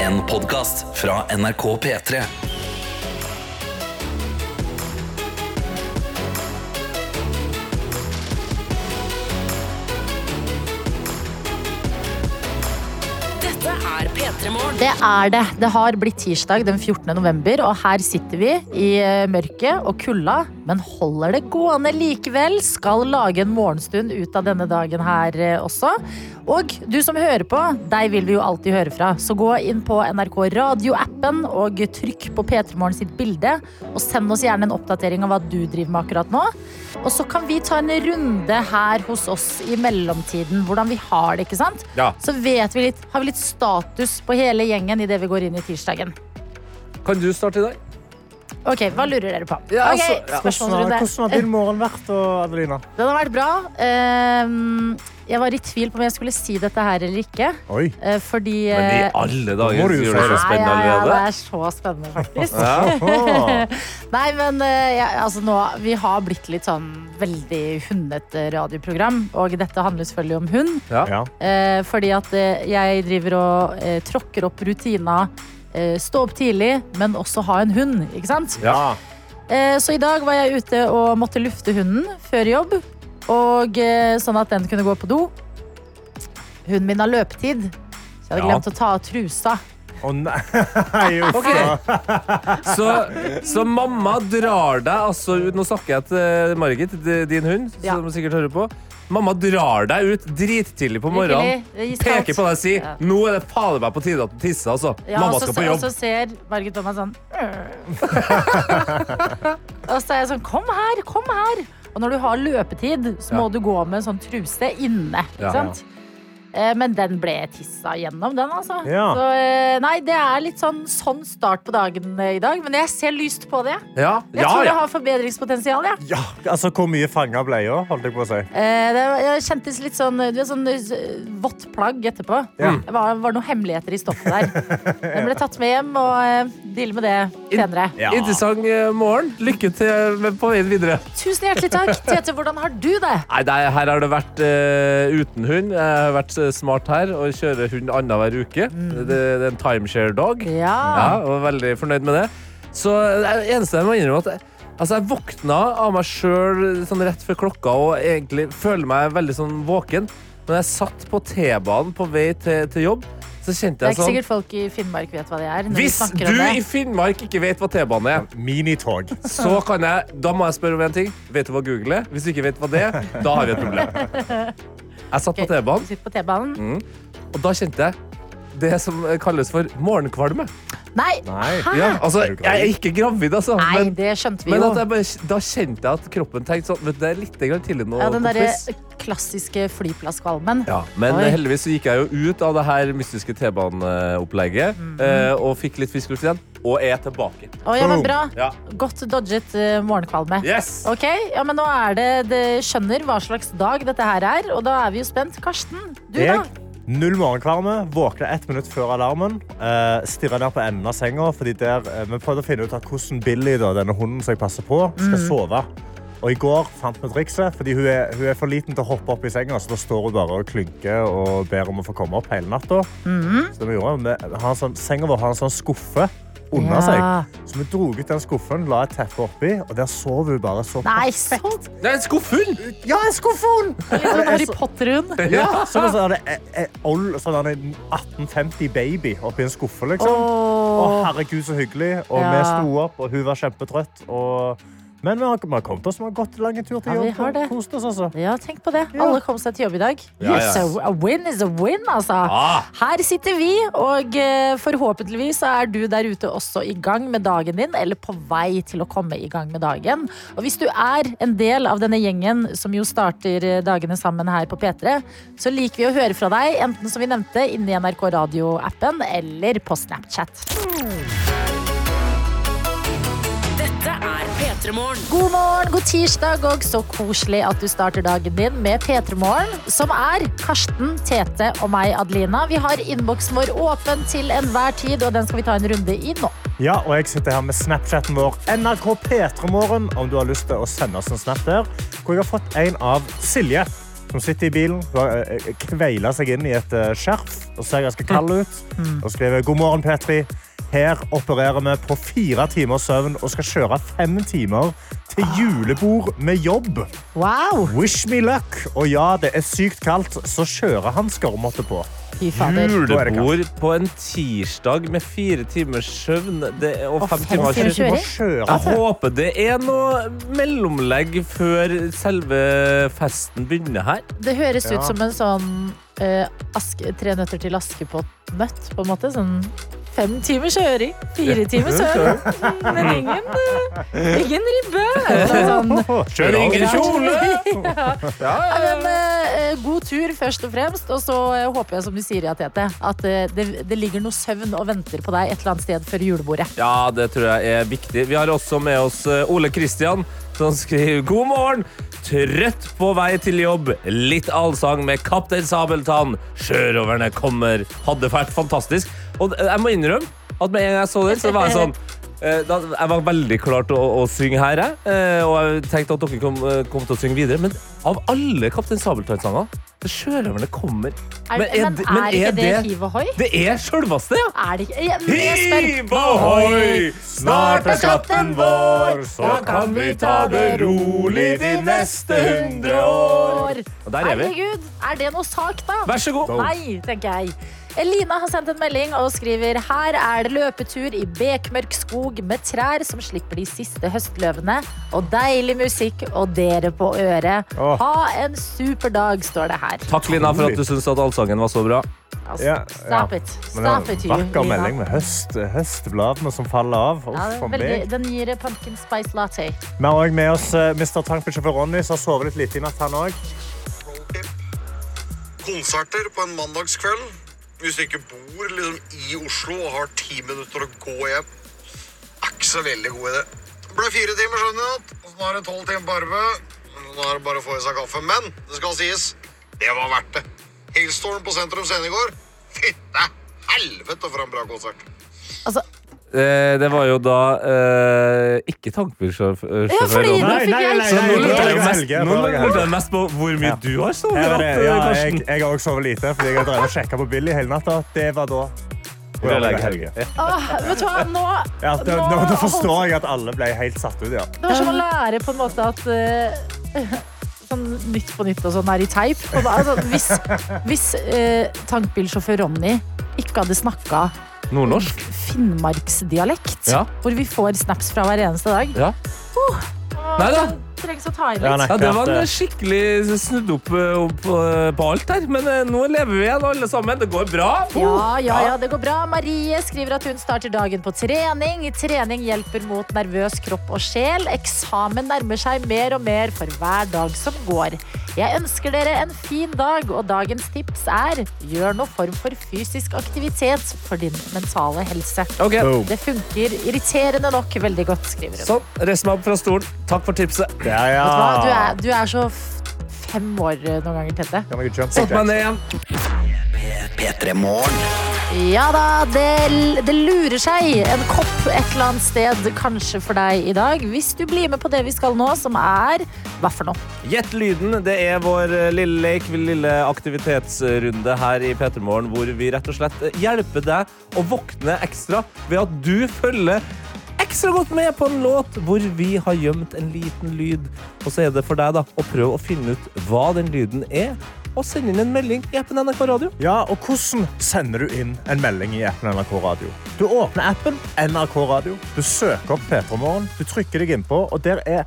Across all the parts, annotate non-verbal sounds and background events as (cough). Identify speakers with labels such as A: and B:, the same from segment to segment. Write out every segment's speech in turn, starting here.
A: En podcast fra NRK P3
B: Dette er P3 Morgen.
C: Det er det. Det har blitt tirsdag den 14. november, og her sitter vi i eh, mørket og kulda, men holder det gående likevel. Skal lage en morgenstund ut av denne dagen her eh, også. Og du som hører på, deg vil vi jo alltid høre fra. Så gå inn på NRK Radio-appen og trykk på P3 Morgen sitt bilde, og send oss gjerne en oppdatering av hva du driver med akkurat nå. Og så kan vi ta en runde her hos oss i mellomtiden, hvordan vi har det, ikke sant?
D: Ja.
C: så vet vi litt, har vi litt status på hele gjengen idet vi går inn i tirsdagen.
D: Kan du starte i dag?
C: Ok, Hva lurer dere på? Ok,
E: Hvordan
C: spørsmålsrunde.
E: har, altså, hvordan har din morgen vært, og Adelina?
C: Den har vært bra. Ehm, Jeg var i tvil på om jeg skulle si dette her eller ikke. (laughs)
E: Oi.
C: eh, Fordi
D: Men i
C: eh,
D: alle
E: Nå må
D: dager
E: du jo
D: gjør det så
E: svare.
D: spennende
C: ja, ja, det
D: allerede.
C: er så spennende, faktisk.
D: Ja.
C: Nei, men eh, jeg, altså nå, vi har blitt litt sånn veldig hundete radioprogram. Og dette handler selvfølgelig om hund.
D: Ja.
E: Ja.
C: Eh, fordi at eh, jeg driver og eh, tråkker opp rutina. Eh, stå opp tidlig, men også ha en hund. ikke sant?
D: Ja.
C: Eh, så i dag var jeg ute og måtte lufte hunden før jobb. Og eh, Sånn at den kunne gå på do. Hunden min har løpetid, så jeg hadde
D: Ja.
C: glemt å ta av trusa.
E: Å nei, (laughs) uff.
D: Ok. Så, så mamma drar deg altså ut Nå snakker jeg til eh, Margit, d- din hund,
C: Ja.
D: som sikkert hører på. Mamma drar deg ut drittidlig på morgenen.
C: Virkelig, det er iskaldt.
D: Peker på deg og sier
C: Ja.
D: nå er det fader meg på tide at du tisser. Altså.
C: Ja,
D: Mamma
C: og så
D: skal
C: se-
D: på jobb.
C: Og så ser Margit på meg sånn
D: (laughs)
C: Og så er jeg sånn Kom her, kom her! Og når du har løpetid, så må
D: Ja.
C: du gå med en sånn truse inne. Ikke
D: Ja.
C: sant? Eh, Men den ble tissa gjennom, den, altså.
E: Ja.
C: Så eh, nei, det er litt sånn, sånn start på dagen eh, i dag. Men jeg ser lyst på det.
D: Ja,
C: Jeg
D: ja,
C: tror
D: ja.
C: jeg har forbedringspotensial, jeg.
E: Ja, altså, hvor mye fanga bleia, holdt jeg på å si.
C: Eh, Det jeg kjentes litt sånn Du vet, sånn eh, vått plagg etterpå.
E: Ja.
C: Det var, var noen hemmeligheter i stoffet
D: (laughs)
C: der. Den ble tatt med hjem, og eh, deale med det senere.
E: Ja.
D: Interessant eh, morgen. Lykke til med på veien videre.
C: Tusen hjertelig takk. Tete, hvordan har du det?
D: Nei, det er, Her har det vært eh, uten hund. Jeg har vært eh, smart her og kjører hund annenhver uke. Det, det er en timeshare-dog. Ja,
C: Mm. Ja.
D: og var veldig fornøyd med det. Så eh, det eneste jeg må innrømme at jeg- Altså, jeg våkna av meg sjøl sånn rett før klokka og egentlig føler meg veldig sånn våken. Men jeg satt på T-banen på vei til, til jobb, så kjente
C: Det er
D: jeg
C: ikke
D: sånn
C: sikkert folk i Finnmark vet hva det er. Når vi
D: Hvis
C: snakker
D: du
C: om
D: i
C: det.
D: Finnmark ikke vet hva T-bane er,
E: Minitog.
D: så kan jeg Da må jeg spørre om en ting. Vet du hva Google er? Hvis du ikke vet hva det er, da har vi et problem. Jeg satt på
C: Ok,
D: T-banen,
C: du sitter på T-banen.
D: Mm. og da kjente jeg det som kalles for morgenkvalme.
C: Nei,
E: Nei.
C: hæ?
D: Ja, altså, jeg er ikke gravid, altså.
C: Nei,
D: men-
C: det skjønte vi
D: Men
C: jo.
D: at jeg bare, da kjente jeg at kroppen tenkte sånn vet du, Det er litt grann tidlig nå.
C: Ja, den derre
D: kompis.
C: klassiske flyplasskvalmen.
D: ja, men
C: Oi.
D: heldigvis så gikk jeg jo ut av det her mystiske T-baneopplegget
C: Mhm.
D: eh, og fikk litt frisk luft igjen, og er tilbake.
C: Å, ja, men bra.
D: Ja.
C: Godt dodget eh, morgenkvalme.
D: Yes!
C: Ok, ja, men nå er det, det skjønner hva slags dag dette her er, og da er vi jo spent. Karsten, du da?
E: Jeg, null morgenkvalme, våkna ett minutt før alarmen. Uh, Stirra ned på enden av senga. fordi der, eh, Vi prøvde å finne ut av hvordan Billy, da, denne hunden som jeg passer på, skal
C: Mm.
E: sove. Og I går fant vi trikset, fordi hun er, hun er for liten til å hoppe opp i senga. Så da står hun bare og klynker og ber om å få komme opp hele natta.
C: Mm.
E: Så det vi gjorde, vi har en sånn, senga vår har en sånn skuffe under
C: Ja.
E: seg. Så vi dro ut den skuffen, la et teppe oppi, og der sov hun bare så
C: Nei, så
D: Det er en skuffhull!
E: Ja, en skuffe!
C: litt sånn Harry Potter-hund.
E: Ja, som en (laughs) sånn eh, eh, old- sånn en 1850 baby oppi en skuffe, liksom.
C: Åh.
E: Å, herregud, så hyggelig. Og
C: Ja.
E: vi sto opp, og hun var kjempetrøtt. Og... Men vi har, vi har kommet oss, vi har gått lang tur til
C: Ja, vi
E: jobb
C: har det.
E: og kost oss, altså.
C: Ja, tenk på det.
E: Ja.
C: Alle kom seg til jobb i dag.
D: Ja, ja.
C: Yes, a win is a win, altså.
D: Ah.
C: Her sitter vi, og eh, forhåpentligvis så er du der ute også i gang med dagen din, eller på vei til å komme i gang med dagen. Og hvis du er en del av denne gjengen som jo starter eh, dagene sammen her på P3, så liker vi å høre fra deg, enten som vi nevnte, inni NRK Radio-appen eller på Snapchat.
B: Dette er P3 Morgen.
C: God morgen, god tirsdag, og så koselig at du starter dagen din med P3morgen, som er Karsten, Tete og meg, Adelina. Vi har innboksen vår åpen til enhver tid, og den skal vi ta en runde i nå.
E: Ja, og jeg sitter her med Snapchatten vår NRK P3morgen, om du har lyst til å sende oss en snap der. Hvor jeg har fått en av Silje. Hun sitter i bilen, hun har, eh, kveiler seg inn i et eh, skjerf og ser ganske kald ut. Og skriver 'God morgen, Petri'. Her opererer vi på fire timers søvn og skal kjøre fem timer til julebord med jobb.
C: Wow!
E: Wish me luck! Og ja, det er sykt kaldt, så kjørehansker måtte på.
C: Fy fader.
D: Julebord på en tirsdag med fire timers søvn det, er- og
C: Og
D: fem
C: fem
D: timer
C: timer
D: kjøring.
E: Du må
C: Kjøring?
E: kjøre
D: Jeg håper det er noe mellomlegg før selve festen begynner her.
C: Det høres
E: Ja.
C: ut som en sånn eh, aske, Tre nøtter til Askepott-nøtt, på en måte. Sånn fem timer kjøring, fire timer søvn, men ingen, eh, ingen ribbe. Sånn.
E: Kjør
D: ingen kjole!
C: Ja, men, eh, god tur først og fremst, og så eh, håper jeg som du sier, ja, Tete, at eh, det, det ligger noe søvn og venter på deg et eller annet sted før julebordet.
D: Ja, det tror jeg er viktig. Vi har også med oss eh, Ole Kristian, som skriver God morgen! Trøtt på vei til jobb. Litt allsang med Kaptein Sabeltann. Sjørøverne kommer. Hadde vært fantastisk. Og eh, jeg må innrømme at med en gang jeg så det, så var jeg sånn eh, da, jeg var veldig klar til å, å synge her, jeg. eh, Og jeg tenkte at dere kom, eh, kom til å synge videre. Men av alle Kaptein Sabeltann-sanger så Sjørøverne kommer.
C: Er, men, er,
D: d- men er
C: ikke det, det hiv ohoi?
D: Det er sjølveste, ja!
C: Er det ikke? Ja, men jeg spør.
D: ohoi, snart
C: er skatten vår,
D: så
C: kan vi ta det
D: rolig de neste hundre
C: år.
D: Og der er vi.
C: Herregud, er det noe sak, da?
D: Vær så god.
C: Nei, tenker jeg. Elina har sendt en melding og skriver Her er det løpetur i bekmørk skog med trær som slipper de siste høstløvene, og deilig musikk og dere på øret.
E: Åh.
C: Ha en super dag, står det her.
D: Takk, Lina, for at du syns at allsangen var så bra.
C: Altså,
E: Ja, ja.
C: stop it.
E: Men det
C: Stop it,
E: er en
C: you,
E: vakker
C: Lina.
E: melding med høst, høstbladene som faller av.
C: Ja,
E: Uff,
C: den,
E: for
C: er veldig,
E: meg.
C: den gir pumpkin spice latte.
E: Vi har også med oss eh, Mr. Tankbilsjåfør Ronny, som har sovet litt lite i natt. han også.
F: konserter på en mandagskveld. Hvis du ikke bor liksom, i Oslo og har ti minutter å gå hjem, er ikke så veldig god idé. Det ble fire timer søvn i natt, og så nå er det tolv timer på arbeid. Nå er det bare å få i seg kaffe. Men det skal sies, det var verdt det. Hailstorm på Sentrum Scene i går. Fytte helvete for en bra konsert.
C: Altså,
D: Eh, det var jo da eh, ikke tankbilsjåfør.
C: ja, fordi nå
E: Nei,
C: fikk
E: nei,
C: jeg
E: nei,
D: Så nå
E: nei, nei,
D: lurte jeg
E: nei,
D: mest-
E: nei,
D: nå
E: nei, nei,
D: lurte jeg mest på hvor mye
E: Ja.
D: du har
E: Her
D: sovet
E: er
D: natt,
E: det. Ja, jeg,
D: Karsten.
E: jeg har også sovet lite, fordi jeg har drevet og sjekka på Billy hele natta. Det var da.
D: Rødlegg
E: Helge.
D: helge.
C: Åh, vet du hva, nå,
E: Ja, da,
C: nå
E: da, da
C: holdt-
E: forstår jeg at alle ble helt satt ut. Ja.
C: Det var som å lære på en måte at eh, (laughs) sånn Nytt på nytt og sånn er i teip. Og da, altså, hvis hvis eh, tankbilsjåfør Ronny ikke hadde snakka
D: Nordnorsk?
C: finnmarksdialekt,
D: Ja.
C: hvor vi får snaps fra hver eneste dag
D: Ja. Nei da.
C: Trengs å ta i litt.
E: Ja, nei.
D: Ja, det var en skikkelig snudd opp, eh, opp eh, på alt her. Men eh, nå lever vi igjen, alle sammen. Det går bra.
C: Ja, ja, ja, det går bra. Marie skriver at hun starter dagen på trening. Trening hjelper mot nervøs kropp og sjel. Eksamen nærmer seg mer og mer for hver dag som går. Jeg ønsker dere en fin dag, og dagens tips er gjør noe form for fysisk aktivitet for din mentale helse.
D: Ok,
C: Det funker irriterende nok veldig godt, skriver hun.
D: Sånn, reis meg opp fra stolen. Takk for tipset.
E: Ja,
C: Vet du, hva? Du,
E: ja.
C: er, du er så f- fem år eh, noen ganger, Tete.
E: Kan dere jump
D: Satt meg
E: jack?
D: ned igjen.
C: Ja da, det, det lurer seg en kopp et eller annet sted kanskje for deg i dag. Hvis du blir med på det vi skal nå, som er hva for noe?
D: Gjett lyden. Det er vår eh, lille lek, vår lille aktivitetsrunde her i Petermorgen, hvor vi rett og slett eh, hjelper deg å våkne ekstra ved at du følger ekstra godt med på en låt hvor vi har gjemt en liten lyd. Og så er det for deg da å prøve å finne ut hva den lyden er, og sende inn en melding i appen NRK Radio.
E: Ja, og hvordan sender du inn en melding i appen NRK Radio? Du åpner appen NRK Radio, du søker opp P3morgen, du trykker deg innpå, og der er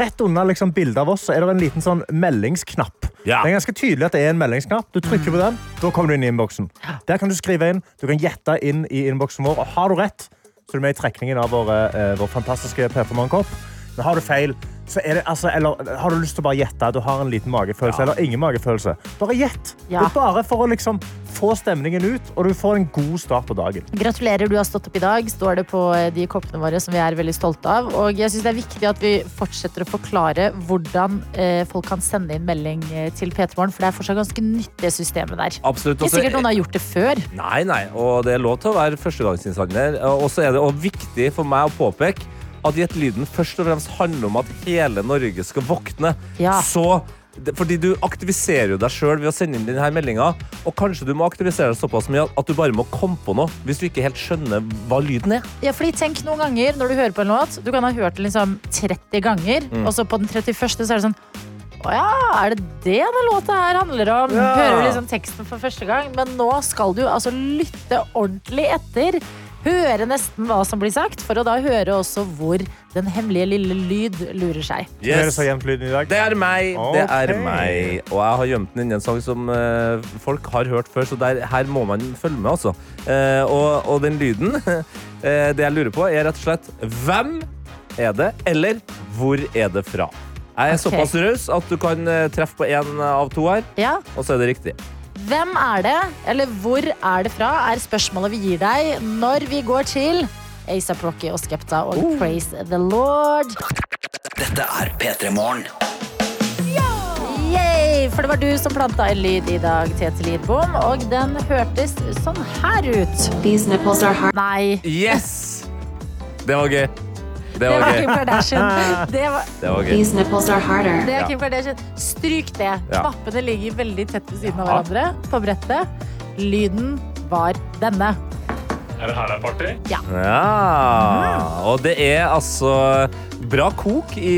E: rett under liksom, bildet av oss så er det en liten sånn meldingsknapp.
D: Ja.
E: Det er ganske tydelig at det er en meldingsknapp. Du trykker på den, da kommer du inn i innboksen. Der kan du skrive inn, du kan gjette inn i innboksen vår, og har du rett, så er du med i trekningen av vår, eh, vår fantastiske P3morgen-kopp. Men har du feil, så er det, altså, eller har du lyst til å bare gjette, du har en liten magefølelse, eller ingen magefølelse, bare gjett.
C: Ja.
E: Det er bare for å liksom få stemningen ut, og du får en god start på dagen.
C: Gratulerer, du har stått opp i dag, står det på eh, de koppene våre som vi er veldig stolte av. Og jeg syns det er viktig at vi fortsetter å forklare hvordan eh, folk kan sende inn melding eh, til P3 Morgen, for det er fortsatt ganske nytt, det systemet der.
D: Absolutt.
C: Ikke
D: også-
C: sikkert noen har gjort det før.
D: Nei, nei, og det er lov til å være førstegangsinnsanger. Og så er det også viktig for meg å påpeke at Gjett lyden først og fremst handler om at hele Norge skal våkne.
C: Ja.
D: Så det- Fordi du aktiviserer jo deg sjøl ved å sende inn denne meldinga. Og kanskje du må aktivisere deg såpass mye at du bare må komme på noe hvis du ikke helt skjønner hva lyden er.
C: Ja, fordi tenk noen ganger når du hører på en låt Du kan ha hørt den liksom 30 ganger Og så på den 31. så er det sånn Å ja, er det det den låta her handler om?
D: Ja.
C: Hører du liksom teksten for første gang Men nå skal du altså lytte ordentlig etter Høre nesten hva som blir sagt For å da høre også hvor den hemmelige lille lyd lurer seg
E: Hvem Er det så jevnt lyden i dag?
D: Det er meg, det er
E: Ok.
D: meg. Og jeg har gjemt den inn i en sang som eh, folk har hørt før, så der, her må man følge med, altså. Eh, og, og den lyden (laughs) eh, Det jeg lurer på, er rett og slett hvem er det, eller hvor er det fra? Jeg er
C: Ok.
D: såpass raus at du kan eh, treffe på én av to her,
C: Ja,
D: og så er det riktig.
C: hvem er det? Eller hvor er det fra? Er spørsmålet vi gir deg Når vi går til A$AP Rocky og Skepta Og Praise the Lord
A: Dette er P3 Morgen.
C: Yay! For det var du som planta en lyd i dag, Tete Lidbom, og den hørtes sånn her ut.
G: These nipples are hard.
C: Nei.
D: Yes! Det var gøy. Det
C: Det
D: var
C: var Kim
D: gøy. (laughs)
C: Kardashian. Det var,
D: Det var gøy.
G: These nipples are harder.
C: det er Kim Kardashian. Stryk det.
D: Ja.
C: Knappene ligger veldig tett ved siden av
D: Ja.
C: hverandre på brettet. Lyden var denne.
H: Er det her det er party?
D: Ja, og det er altså bra kok i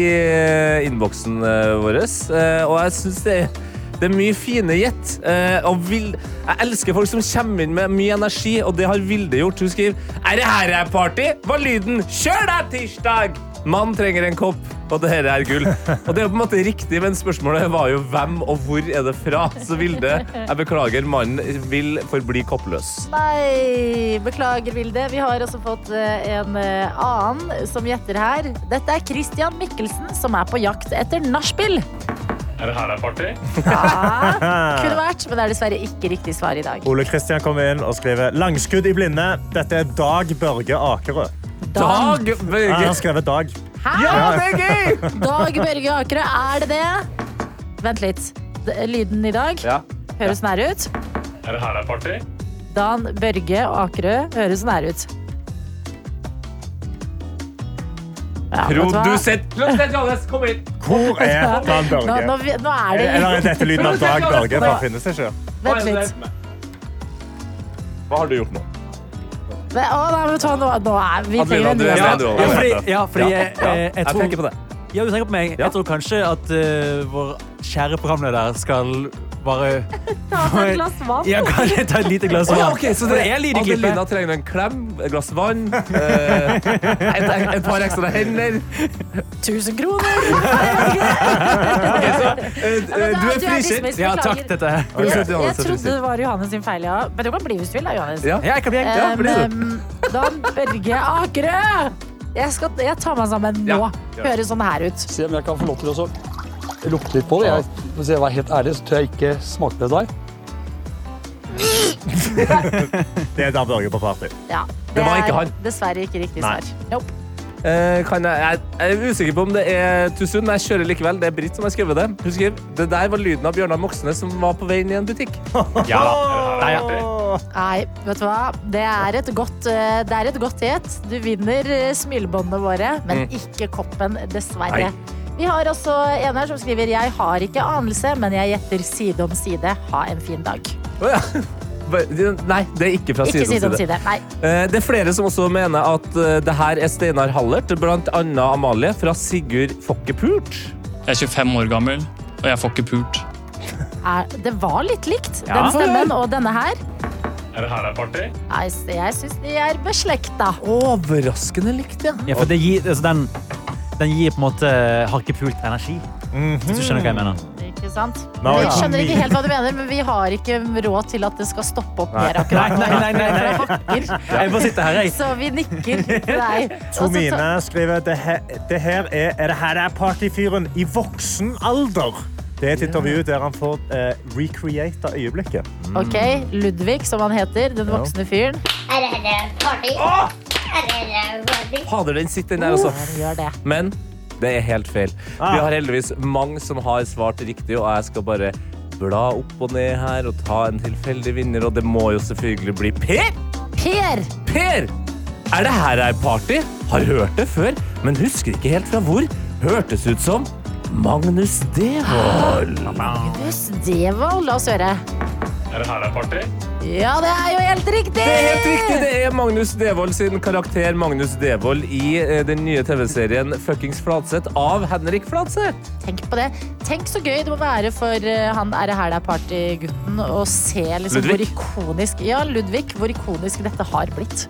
D: innboksen eh, vår. eh, Og jeg syns det, er- det er mye fine gjett. eh, Og vil, jeg elsker folk som kommer inn med mye energi, og det har Vilde gjort. Hun skriver Er det her er party? Var lyden Kjør deg, tirsdag! Mann trenger en kopp, og det her er gull. Og det er jo på en måte riktig, men spørsmålet var jo hvem og hvor er det fra? Så Vilde, jeg beklager, mannen vil forbli koppløs.
C: Nei, beklager, Vilde. Vi har også fått eh, en eh, annen som gjetter her. Dette er Christian Mikkelsen, som er på jakt etter nachspiel.
H: Er det her det er party?
C: Ja,
D: (laughs)
C: kunne vært, men det er dessverre ikke riktig svar i dag.
E: Ole Kristian kommer inn og skriver Langskudd i blinde. Dette er Dag Børge Akerø.
C: Dan.
D: Dag Børge.
E: Han har skrevet Dag.
C: Hæ?
D: Ja, det er gøy!
C: Dag Børge Akerø, er det det? Vent litt. D- Lyden i dag høres nær ut.
H: Er det her det er party?
C: Dan Børge Akerø høres nær ut. Ja, vet du hva?
D: kom inn!
E: Hvor er Dan
C: Nå, nå,
E: Børge?
C: vi- nå er
E: Eller
C: det
E: er dette lyden av Dag Børge? For han finnes ikke.
C: Vent litt.
D: Hva har du gjort nå?
C: Men- Å, nei, vet du hva, nå, nå er vi trenger
D: Adelina,
C: en
D: du
C: ny
D: er med,
C: sang.
D: du
I: Ja,
D: også.
I: fordi, ja, fordi jeg,
J: eh,
I: jeg, jeg
D: eh, Jeg
I: tror
D: trekker på det.
I: Ja, du trekker på meg.
D: Ja.
I: Jeg tror kanskje at eh, vår kjære programleder skal bare
C: Ta seg et glass vann.
I: Ja, kan jeg ta et lite glass
D: Å
I: vann?
D: ja, ok, så det
I: er lite glippe.
D: Adelina trenger en klem, et glass vann, eh, et, et par ekstra hender.
C: 1000 kroner!
D: Eh, eh, Du er frikjent.
I: Ja, takk, dette her.
D: Ok.
C: Jeg, jeg trodde det var Johannes sin feil, ja. Men du kan bli hvis du vil, da, Johannes.
D: Ja.
I: Ja, jeg kan bli
C: Eh,
D: Ja, bli du.
C: men, Dan Børge Akerø! Jeg, skal, jeg tar meg sammen nå.
D: Ja,
C: Høres sånn her ut.
K: Se om jeg kan få lov til å så lukte litt på det. Jeg, hvis jeg var helt ærlig, så tør jeg ikke smake det der.
E: Det er Dan Børge på party.
C: Ja,
D: Det var ikke
C: er
D: han.
C: Dessverre ikke riktig
E: Nei.
C: svar. Nope.
D: Eh, kan jeg, jeg, jeg er usikker på om det er too soon, men jeg kjører likevel. Det er Britt som har skrevet det. Hun skriver det der var lyden av Bjørnar Moxnes som var på vei inn i en butikk.
H: Ja. Er det her det er party?
C: Nei, vet du hva? Det er et godt eh, Det er et godt het. Du vinner eh, smilebåndene våre, men ikke koppen, dessverre.
D: Mm. Nei.
C: Vi har også en her som skriver Jeg har ikke anelse, men jeg gjetter side om side. Ha en fin dag.
D: Å ja. (laughs) Nei, det er ikke fra
C: Ikke side om
D: side.
C: side. Nei.
D: Eh, Det er flere som også mener at eh, det her er Steinar Hallert, blant annet Amalie fra Sigurd Fokkepult.
H: Jeg er 25 år gammel, og jeg får ikke pult.
C: Er, det var litt likt, den stemmen og denne her.
H: Er det her det er party?
C: Nei, s- jeg syns de er beslekta.
D: Overraskende likt, ja.
I: Ja, for det gir, altså, den, den gir på en måte harkepult energi. Hvis du skjønner hva jeg mener.
C: Ikke sant?
E: Nå er
C: jeg
E: det
C: skjønner ikke
E: mye.
C: helt hva du mener, men vi har ikke råd til at det skal stoppe opp mer
I: Nei,
D: (laughs)
C: akkurat nå.
I: nei, nei, nei, nei.
C: Hakker.
I: Jeg bare sitter her, jeg.
C: Så vi nikker til deg. Og så-
E: Tomine skriver det her, det her er, er det her det er partyfyren i voksen alder. Det er et intervju der han får eh, recreata øyeblikket.
C: Ok, Ludvig, som han heter, den voksne fyren.
D: Fader, den sitter den der, altså.
C: Han gjør det.
D: Men det er helt feil. Vi har heldigvis mange som har svart riktig, og jeg skal bare bla opp og ned her og ta en tilfeldig vinner, og det må jo selvfølgelig bli Per!
C: Per!
D: Per! Er det her er party? Har hørt det før, men husker ikke helt fra hvor. Hørtes ut som Magnus Devold.
C: Magnus Devold, la oss høre.
H: Er det her det er party?
C: Ja, det er jo helt riktig!
D: Det er helt riktig! Det er Magnus Devold sin karakter Magnus Devold i eh, den nye TV-serien Fuckings Fladseth av Henrik Fladseth.
C: Tenk på det. Tenk så gøy det må være for eh, han er det her det er party-gutten å se liksom hvor
D: Ludvig.
C: ikonisk Ja, Ludvig, hvor ikonisk dette har blitt.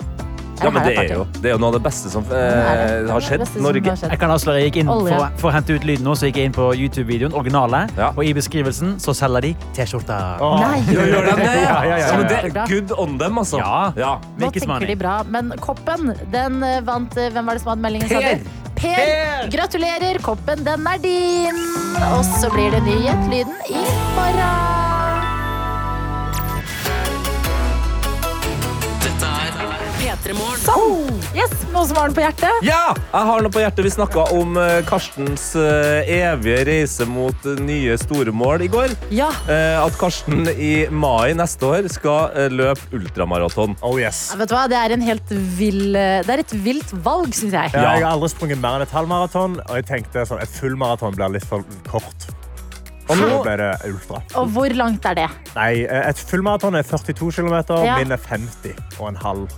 C: Er
D: Ja, men
C: her
D: det er
C: party?
D: jo, det er jo noe av det beste som
C: er
D: eh,
C: det
D: har skjedd
C: beste som
D: Norge.
C: har skjedd.
I: Jeg kan avsløre, jeg gikk inn
C: Olje.
I: for, for å hente ut lyden nå, så gikk jeg inn på YouTube-videoen, originale,
D: Ja.
I: og i beskrivelsen så selger de T-skjorter.
C: Nei!
D: Ja, gjør de det?
I: Ja, ja, ja, ja.
D: Ja, men det er good on them, altså.
I: Ja.
D: ja.
C: Nå
I: Make us
C: tenker
I: money.
C: de bra, men koppen den eh, vant eh, Hvem var det som hadde meldingen? sa
D: Per.
C: du? Per. Gratulerer, koppen den er din! Og så blir det ny Gjett lyden i morgen.
B: P3morgen.
C: Sånn! Yes, Noe som har den på hjertet?
D: Ja! Jeg har noe på hjertet. Vi snakka om eh, Karstens eh, evige reise mot eh, nye store mål i går.
C: Ja.
D: Eh, At Karsten i mai neste år skal eh, løpe ultramaraton.
E: Oh yes.
C: Ja, Vet du hva, Det er, en helt vill, eh, det er et vilt valg, syns jeg.
E: Ja, jeg har aldri sprunget mer enn et halvmaraton, og jeg tenkte sånn, et fullmaraton blir litt for kort. Og nå ble det ultra.
C: Og hvor langt er det?
E: Nei, eh, et fullmaraton er 42 km,
C: Ja.
E: min er 50 og en halv.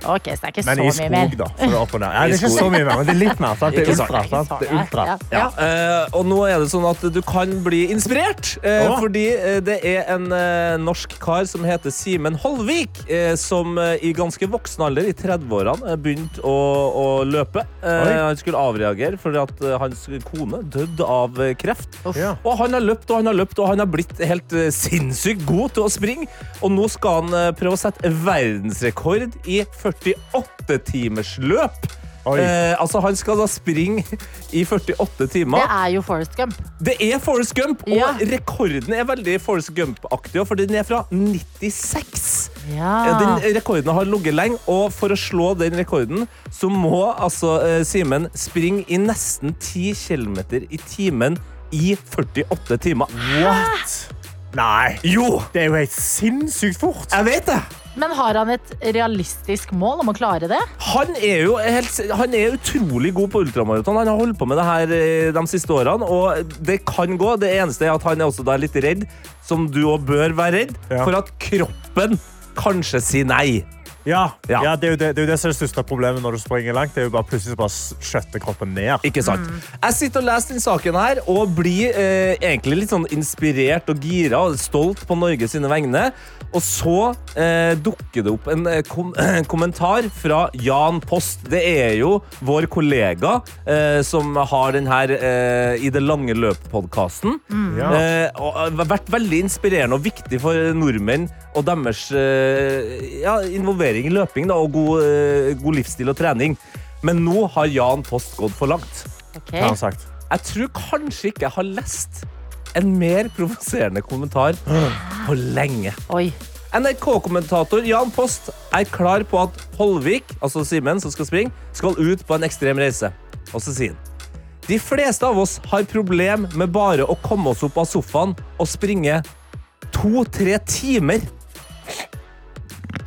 C: Ok, så det er ikke
E: Men
C: så
E: i
C: mye mer.
E: skog, da. Så det er opp og ned. Nei, det er
D: I
E: ikke
D: skog.
E: så mye mer, men det er litt mer. Sant? Det er
D: Ikke sant.
E: ultra. Sant? Det er ultra.
C: Ja, ja.
D: Ja. eh, og nå er det sånn at du kan bli inspirert, eh,
E: Åh.
D: fordi eh, det er en eh, norsk kar som heter Simen Holvik, eh, som eh, i ganske voksen alder, i 30-årene, eh, begynte å, å løpe. Eh,
E: Oi.
D: han skulle avreagere fordi at eh, hans kone døde av eh, kreft.
E: Ja.
D: Og han har løpt og han har løpt, og han har blitt helt eh, sinnssykt god til å springe. Og nå skal han eh, prøve å sette verdensrekord i 48-timersløp.
E: Oi.
D: Eh, altså, han skal da springe i 48
C: Det
D: timer.
C: er jo Forest Gump.
D: Det er Forrest Gump, og
C: Ja.
D: rekorden er veldig Forrest Gump-aktig, også, for den er fra 96. Eh,
C: Ja.
D: Den rekorden har ligget lenge, og for å slå den rekorden så må altså eh, Simen springe i nesten 10 km i timen i 48 timer.
E: What? Nei,
D: Jo!
E: det er jo helt sinnssykt fort.
D: Jeg vet det!
C: Men har han et realistisk mål om å klare det?
D: Han er jo helt, han er utrolig god på ultramaraton. Han har holdt på med det her eh, de siste årene, og det kan gå. Det eneste er at han er også da litt redd, som du òg bør være redd,
E: Ja.
D: for at kroppen kanskje sier nei.
E: Ja,
D: Ja.
E: ja det, er jo det, det er jo det som er det største problemet når du springer langt. Det er jo bare plutselig så bare skjøtter kroppen ned.
D: Ikke sant? Jeg sitter og leser den saken her og blir eh, egentlig litt sånn inspirert og gira og stolt på Norge sine vegne. Og så eh, dukker det opp en eh, kom (clears throat) kommentar fra Jan Post. Det er jo vår kollega eh, som har den her eh, I det lange løp-podkasten.
E: Mm. Ja.
D: Eh, og har vært veldig inspirerende og viktig for nordmenn og deres eh, ja, involvering i løping da, og god, eh, god livsstil og trening. Men nå har Jan Post gått for langt.
C: Ok.
E: Har han sagt.
D: Jeg tror kanskje ikke jeg har lest en mer provoserende kommentar på lenge.
C: Oi.
D: NRK-kommentator Jan Post er klar på at Holvik, altså Simen som skal springe, skal ut på en ekstrem reise. Og så sier han De fleste av oss har problem med bare å komme oss opp av sofaen og springe to-tre timer.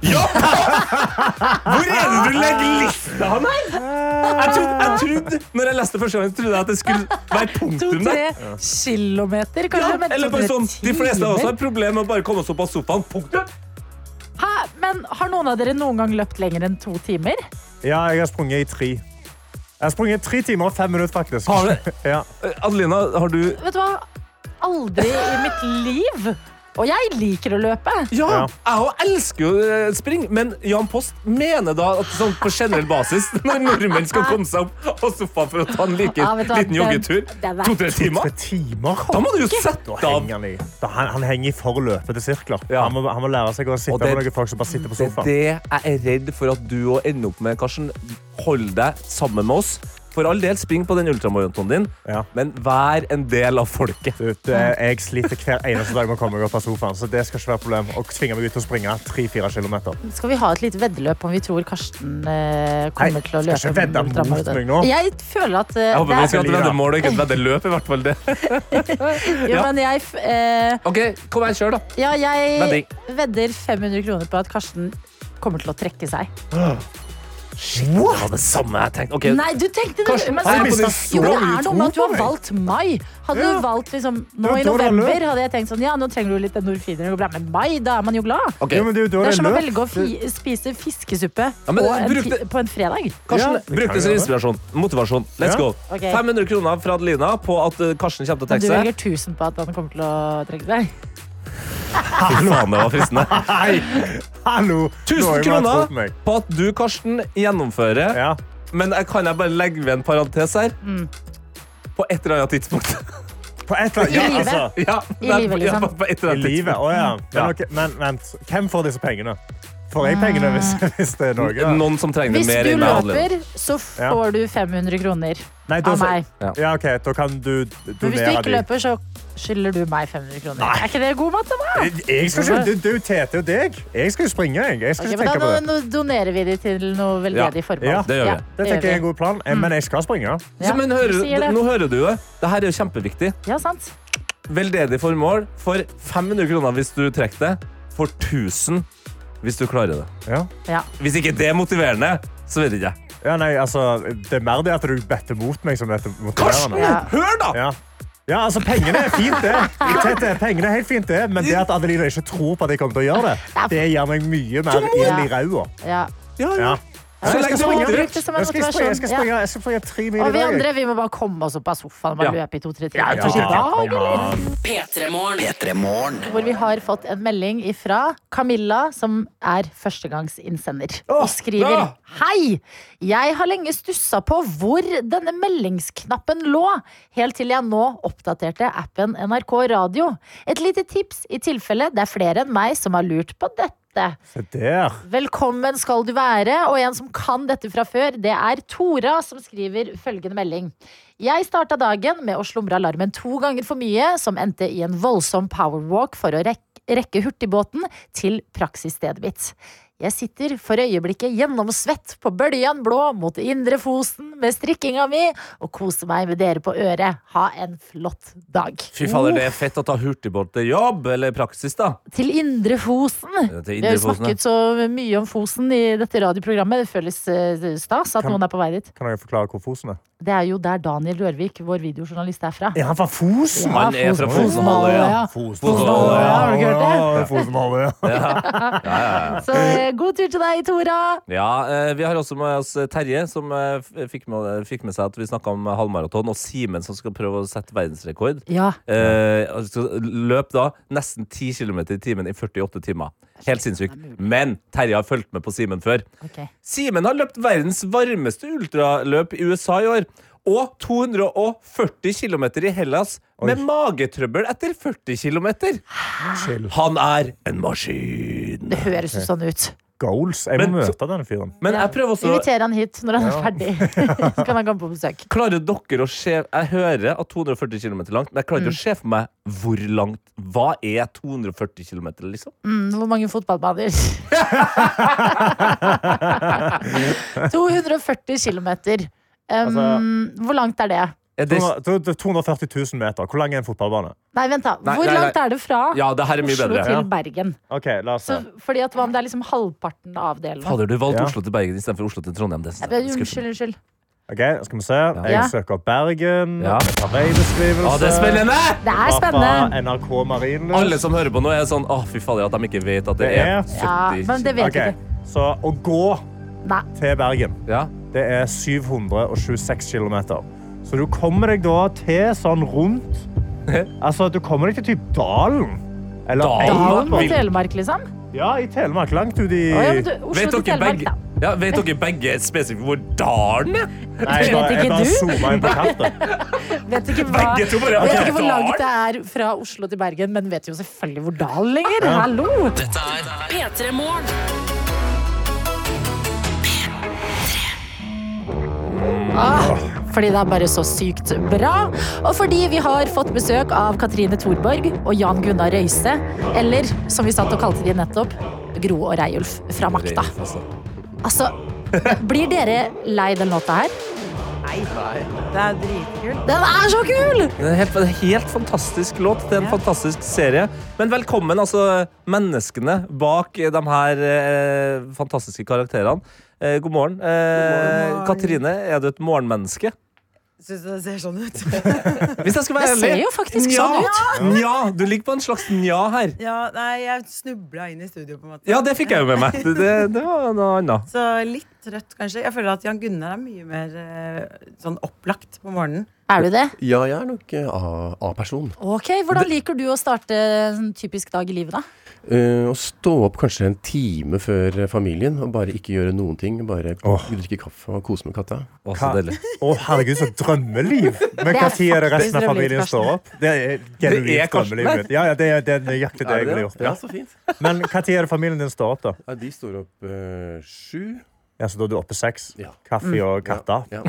D: Ja! Hvor er det du legger lista, han her? Jeg trodde, jeg trodde, når jeg leste første gang, trodde jeg at det skulle være punktum der.
C: To-tre kilometer, kanskje? men
D: Eller bare
C: to-tre
D: sånn, De fleste av oss
C: timer?
D: har problemer med å bare komme oss opp av sofaen. Punktum.
C: Hæ? Men har noen av dere noen gang løpt lenger enn to timer?
E: Ja, jeg har sprunget i tre. Jeg har sprunget i tre timer og fem minutter, faktisk.
D: Har du?
E: (laughs) Ja.
D: Eh, Adelina, har du
C: Vet du hva? Aldri i mitt liv. Og jeg liker å løpe.
D: Ja,
E: Ja.
D: jeg òg elsker jo eh, spring, men Jan Post mener da at sånn på generell basis, (laughs) når nordmenn skal komme seg opp av sofaen for å ta en like,
C: Ja, vet du hva,
D: liten joggetur,
C: den- den er-
D: to-tre
E: Tre
D: timer,
E: timer?
D: da må du jo
E: Da
D: sette av
E: henger han i. Da, han, han henger i forløpete sirkler.
D: Ja.
E: Han, må, han må lære seg å sitte
D: Og det-
E: med noen folk som bare sitter på
D: Det er
E: sofaen.
D: det jeg er redd for at du òg ender opp med, Karsten. Hold deg sammen med oss. For all del, spring på den ultramaratonen din,
E: Ja.
D: men vær en del av folket.
E: Du, det- eh, jeg sliter hver eneste dag med å komme meg opp av sofaen, så det skal ikke være et problem. Og tvinge meg ut til å springe 3-4 kilometer.
C: Skal vi ha et lite veddeløp om vi tror Karsten eh, kommer til å
E: Nei, skal
C: løpe?
E: ikke vedde
C: en ultramaraton?
E: mot meg nå.
C: Jeg føler at eh,
D: Jeg håper
C: det
D: vi
C: er,
D: skal ha et veddemål og ikke et veddeløp. i hvert fall det.
C: jo,
D: ja.
C: men jeg, f- eh,
D: OK, kom her, kjør, da.
C: ja, jeg
D: Vedding.
C: vedder 500 kroner på at Karsten kommer til å trekke seg.
D: Shit, det var det samme jeg tenkte. Ok,
C: Nei, du tenkte det!
D: Kanskje-
C: Men,
D: Nei, men
C: jo,
D: det er
E: så
C: men det
E: mye
C: er noe med at du
E: tro på
C: har
E: meg.
C: valgt mai. Hadde
E: Ja.
C: du valgt liksom, nå
E: var
C: i
E: da det
C: november,
E: løp.
C: hadde jeg tenkt sånn, ja, nå trenger du litt endorfiner. og bla, Men mai, da er man jo glad.
D: ok.
E: Jo, men det er jo
C: Det
E: da
C: er som å
E: det
C: velge å fi spise fiskesuppe
D: Ja, men
C: på, en,
D: bruk
C: fi-
D: det-
C: på en fredag.
D: Karsten,
E: Ja, det
D: bruk
E: kan
D: det som
E: jeg gjøre.
D: inspirasjon. Motivasjon. Let's
E: Ja.
D: go.
C: Ok.
D: 500 kroner fra Adelina på at eh, Karsten kommer til å
C: Men du
D: tenke seg.
C: velger 1000 på at han kommer til å trenge deg.
D: Fy faen, det var
E: (laughs)
D: fristende.
E: (laughs) Nei! Hallo!
D: 1000
E: Noen har trodd
D: kroner
E: meg.
D: på at du, Karsten, gjennomfører.
E: Ja.
D: Men jeg, kan jeg bare legge ved en parentes her?
C: Mm.
D: På et eller annet tidspunkt. (laughs)
E: På et eller annet
C: I
E: ja,
C: livet.
E: altså,
D: ja,
C: I
D: nei,
C: livet,
D: ja,
C: liksom.
D: på- på et eller
E: I
D: annet tidspunkt.
E: livet. Å ja.
D: Ja.
E: Men, ok, men vent, hvem får disse pengene? Får
C: Ah.
E: jeg pengene hvis, (laughs) hvis det er noe? da?
D: Noen som trenger det
C: Hvis
D: mer
C: du
D: enn jeg, Adelina.
C: løper, så
E: Ja.
C: får du 500 kroner
E: Nei, da,
C: av meg.
E: ja, OK, da kan du
C: Men hvis du
E: donere
C: ikke
E: de.
C: løper, så skylder du meg 500 kroner. Er ikke det god matte, da?
E: Jeg skal ikke, du, du Tete og deg. Jeg skal jo springe. Jeg, jeg skal
C: Ok,
E: ikke
C: men da
E: tenke på det.
C: nå donerer vi de til noe veldedig formål.
E: Ja,
D: det gjør vi.
E: Det tenker jeg er en
C: vi.
E: god plan, eh, men jeg skal springe.
C: Ja,
D: Så, men
C: du sier
D: hører,
C: det.
D: nå hører du det. Dette er jo kjempeviktig.
C: Ja, sant.
D: Veldedig formål for 500 kroner hvis du trekker det. For 1000 hvis du klarer det.
E: Ja.
C: Ja.
D: Hvis ikke det er motiverende, så vet ikke jeg.
E: Ja, nei, altså, det er mer det at du better mot meg som er
D: Karsten,
E: motiverende.
C: Ja.
D: hør da!
E: Ja. ja, altså, pengene er fint, det. Tete, pengene er helt fint, det. Men det at Adelina ikke tror på at jeg kommer til å gjøre det, det gjør meg mye mer ild i ræva.
C: ja.
D: Ja, ja.
E: Ja.
D: Så lenge
E: Jeg skal
D: det
E: springe.
D: var
C: Bruk
D: dritt.
C: det som en
E: Jeg skal springe,
C: motivasjon.
E: jeg skal
C: Ja.
E: springe, jeg skal springe tre mil
C: Og
E: i
C: vi
E: dag.
C: andre vi må bare komme oss opp av sofaen og bare
D: Ja.
C: løpe i to-tre
E: Ja,
C: timer. Kanskje i dag,
E: kom an.
B: P3morgen.
A: P3morgen.
C: hvor vi har fått en melding ifra Camilla, som er førstegangsinnsender.
D: Åh,
C: Og skriver
D: bra!
C: Hei! Jeg har lenge stussa på hvor denne meldingsknappen lå, helt til jeg nå oppdaterte appen NRK Radio. Et lite tips i tilfelle det er flere enn meg som har lurt på dette.
E: Se der.
C: Velkommen skal du være, og en som kan dette fra før, det er Tora, som skriver følgende melding. Jeg starta dagen med å slumre alarmen to ganger for mye, som endte i en voldsom powerwalk for å rek rekke hurtigbåten til praksisstedet mitt. Jeg sitter for øyeblikket gjennomsvett på bølgen blå mot indre Fosen med strikkinga mi, og koser meg med dere på øret. Ha en flott dag.
D: Fy fader, det er fett å ta hurtigbåt til jobb, eller praksis, da.
C: Til Indre Fosen.
D: Til
C: Vi har jo
D: Indrefosen, ja.
C: snakket så mye om Fosen i dette radioprogrammet. Det føles eh, stas at
E: Kan-
C: noen er på vei dit.
E: Kan jeg forklare hvor Fosen er?
C: Det er jo der Daniel Rørvik, vår videojournalist, er fra.
E: Er han fra Fosen?
D: Han er fra Fosenhalvøya.
C: ja.
D: Fosenhalvøya,
C: har du ikke hørt det?
E: Ja, Fosenhalvøya.
C: Så eh, god tur til deg, Tora!
D: Ja, eh, Vi har også med oss Terje, som eh, f- fikk med, fikk med seg at vi snakka om halvmaraton, og Simen, som skal prøve å sette verdensrekord.
C: Ja,
D: Eh, altså, løp da nesten 10 km i timen i 48 timer. Helt sinnssykt. Men Terje har fulgt med på Simen før.
C: ok.
D: Simen har løpt verdens varmeste ultraløp i USA i år. Og 240 km i Hellas med magetrøbbel etter 40 km.
E: Chill.
D: Han er en maskin.
C: Det høres jo sånn ut.
E: Goals. Jeg
D: Men-
E: må møte denne fyren.
D: Men jeg prøver også
C: Inviter han hit når han er ferdig. (laughs) Så kan han komme på besøk.
D: Klarer dere å se Jeg hører at 240 km langt, men jeg klarer
C: Mm.
D: ikke å se for meg hvor langt. Hva er 240 km, liksom?
C: Mm, hvor mange
D: (laughs)
C: fotballbaner? 240 km. Um,
E: Altså-
C: hvor langt er det?
D: Er det,
E: 200 240 000 meter. Hvor lang er en fotballbane?
C: Nei, vent, da.
D: Nei,
C: Hvor
D: nei, nei.
C: langt er det fra
D: ja, det her er mye
C: Oslo
D: bedre.
C: til Bergen?
E: Ok, la oss se.
C: Så, fordi at hva om det er liksom halvparten av delen?
D: Fader, du valgte
E: Ja.
D: Oslo til Bergen istedenfor Oslo til Trondheim. Det er
C: Jeg
D: skuffende.
C: ber- Unnskyld, unnskyld.
E: Ok, skal vi se. Jeg søker opp Bergen.
D: Ja.
E: Jeg tar veibeskrivelse.
D: Å, det er spennende!
C: Det er
E: Fra
C: spennende!
E: NRK Marienlyst.
D: Alle som hører på nå, er sånn Å, fy fader, at de ikke vet at det
E: Det
D: er
E: er-
D: 70
C: Ja, men det vet
E: Ok,
C: vi
E: så å gå
C: ikke. Nei.
E: til Bergen,
D: Ja.
E: det er 726 kilometer. Så du kommer deg da til sånn
D: (laughs)
E: rundt... Altså, du kommer deg til typ Dalen. Eller
D: Dalen?
C: Dalen
E: Eidberg.
C: mot Telemark, liksom?
E: Ja, i Telemark. Langt ut
C: Å,
E: i...
C: ja, men du, Oslo
D: Vet
C: til
D: dere,
C: Telemark,
D: begge,
C: da.
D: ja, vet dere begge spesifikt hvor dalen er?
E: Nei, jeg
C: vet ikke
E: bare- jeg
C: du.
E: bare zoomet inn på kartet.
C: (laughs) Vet ikke, hva,
D: Begge to bare,
C: vet
D: ok,
C: ikke hvor langt det
D: Dalen?
C: er fra Oslo til Bergen, men vet jo selvfølgelig hvor dalen ligger. Hallo!
B: P3morgen.
C: Fordi det er bare så sykt bra. Og fordi vi har fått besøk av Katrine Thorborg og Jan Gunnar Røise. Eller som vi satt og kalte de nettopp, Gro og Reiulf fra Makta.
D: Reiulf, altså.
C: Altså, blir dere lei den låta her?
J: Det er dritkult.
C: Den er så kul!
D: Det er en helt, en helt fantastisk låt til en fantastisk serie. Men velkommen, altså, menneskene bak de her eh, fantastiske karakterene. Eh, god morgen. Eh, Katrine, er du et morgenmenneske?
J: Syns du det ser sånn ut?
D: Hvis jeg skal være
C: Det ser
D: ærlig,
C: jo faktisk
D: nja,
C: sånn ut.
D: Nja, du ligger på en slags nja her.
J: ja, nei, jeg snubla inn i studio, på en måte.
D: Ja, det fikk jeg jo med meg. Det, det, det var noe annet.
J: Så litt rødt, kanskje. Jeg føler at Jan Gunnar er mye mer eh, sånn opplagt på morgenen.
C: Er du det?
L: Ja, jeg er nok eh, A- A-person.
C: Ok, Hvordan liker du å starte en sånn typisk dag i livet, da?
L: Eh, å stå opp kanskje en time før eh, familien og bare ikke gjøre noen ting. Bare drikke kaffe og kose med katta.
D: Å,
E: herregud, så drømmeliv!
L: Det
E: Men
L: er
E: når er det resten av
L: faktisk
E: familien
L: drømmeliv,
E: står opp? Det
L: Det
E: er
L: er
E: genuint
L: Karsten,
E: drømmeliv.
L: nei.
E: Ja, ja, det er, det er nøyaktig det
L: Er
E: jeg
L: det
E: ville
L: det?
E: gjort.
L: Ja, så fint.
E: (laughs) Men når er det familien din står opp, da?
L: Ja, de står opp eh, sju.
E: Ja, Så da er du oppe seks? Kaffe
L: Mm.
E: og katter?
L: Ja.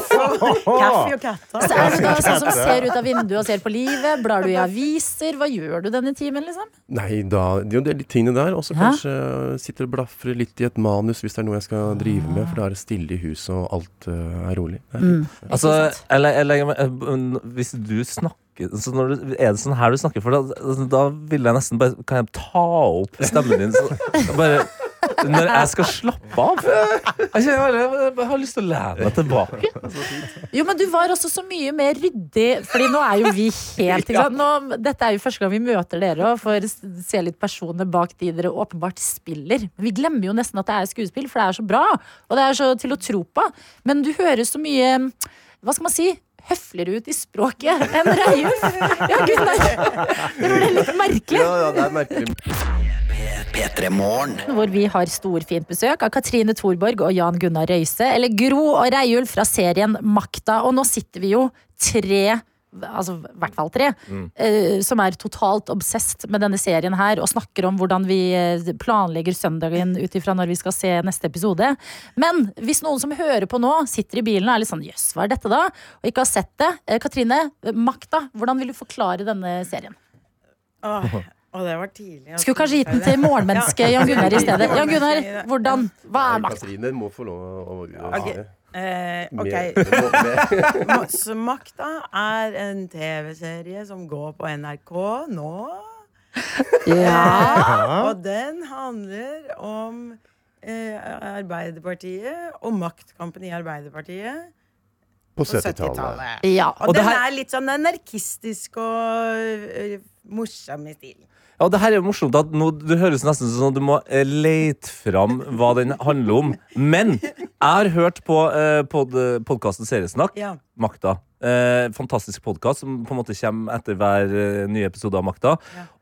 J: Kaffe og katta.
C: Så er du da sånn som ser ut av vinduet og ser på livet? Blar du i aviser? Hva gjør du denne timen, liksom?
L: Nei, da Det er jo de tingene der. Og så
C: Ja.
L: kanskje sitter og blafrer litt i et manus hvis det er noe jeg skal drive med, for da er det stille i huset, og alt eh, er rolig. Det er fint.
D: Altså, jeg le- jeg legger meg- eh, Hvis du snakker så når du, Er det sånn her du snakker for da, altså, da vil jeg nesten bare Kan jeg ta opp stemmen din så, bare, Når jeg skal slappe av Jeg, kjenner bare- jeg, bare har lyst til å lene meg tilbake
C: Jo, men du var også så mye mer ryddig, Fordi nå er jo vi helt ikke sant? Nå, Dette er jo første gang vi møter dere og får s- se litt personer bak de dere åpenbart spiller. Men Vi glemmer jo nesten at det er skuespill, for det er så bra. Og det er så til å tro på. Men du høres så mye Hva skal man si? Høfligere ut i språket enn Reiulf. Ja, Gunnar. Det ble litt merkelig.
L: Ja, ja, det er merkelig.
C: Hvor vi har storfint besøk av Katrine Thorborg og Jan Gunnar Røise, eller Gro og Reiulf fra serien Makta. Og nå sitter vi jo tre, altså i hvert fall tre, eh, som er totalt obsesst med denne serien her, og snakker om hvordan vi eh, planlegger søndagen ut ifra når vi skal se neste episode. Men hvis noen som hører på nå, sitter i bilen og er litt sånn jøss, hva er dette da? Og ikke har sett det. eh, Katrine, eh, Makta, hvordan vil du forklare denne serien?
J: Åh, åh, det var tidlig. altså.
C: Skulle kanskje gitt den til morgenmennesket Jan Gunnar i stedet. Jan Gunnar, hvordan? Hva er makta?
L: Katrine må få lov å å- å
J: Ok.
L: svare.
J: (laughs) Eh,
L: Mer-
J: ok. (laughs) Ma- Så Makta er en TV-serie som går på NRK nå.
C: Ja.
J: Og den handler om eh, Arbeiderpartiet og maktkampen i Arbeiderpartiet.
L: På 70-tallet.
C: Ja.
J: Og, den er litt sånn anarkistisk og eh, morsom i stilen.
D: Ja, og det her er jo morsomt at nå, Du høres nesten sånn at du må eh, lete fram hva den handler om. Men jeg har hørt på eh, pod, podkasten Seriesnakk,
J: Ja.
D: Makta. Eh, fantastisk podkast som på en måte kommer etter hver eh, nye episode av Makta.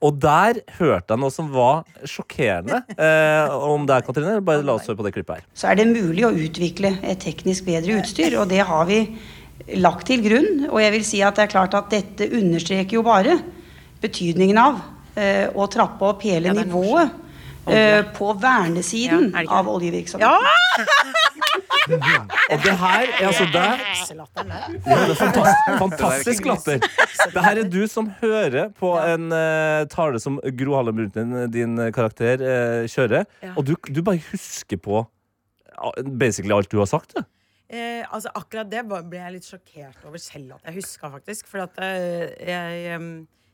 D: Og der hørte jeg noe som var sjokkerende. Eh, om det er Katrine, eller bare la oss høre på det klippet her.
M: så er det mulig å utvikle et teknisk bedre utstyr, og det har vi lagt til grunn. Og jeg vil si at det er klart at dette understreker jo bare betydningen av eh, å trappe opp hele nivået eh, på vernesiden av oljevirksomheten.
D: Og det her er altså deg. Ja, det er
J: (laughs)
D: fantastisk, fantastisk latter. Det her er du som hører på en eh, tale som Gro Harlem Brundtland, din eh, karakter, eh, kjører. Og du, du bare husker på eh, basically alt du har sagt. du.
J: Eh, altså Akkurat det var- ble jeg litt sjokkert over selv at jeg huska, faktisk. For at eh, jeg em,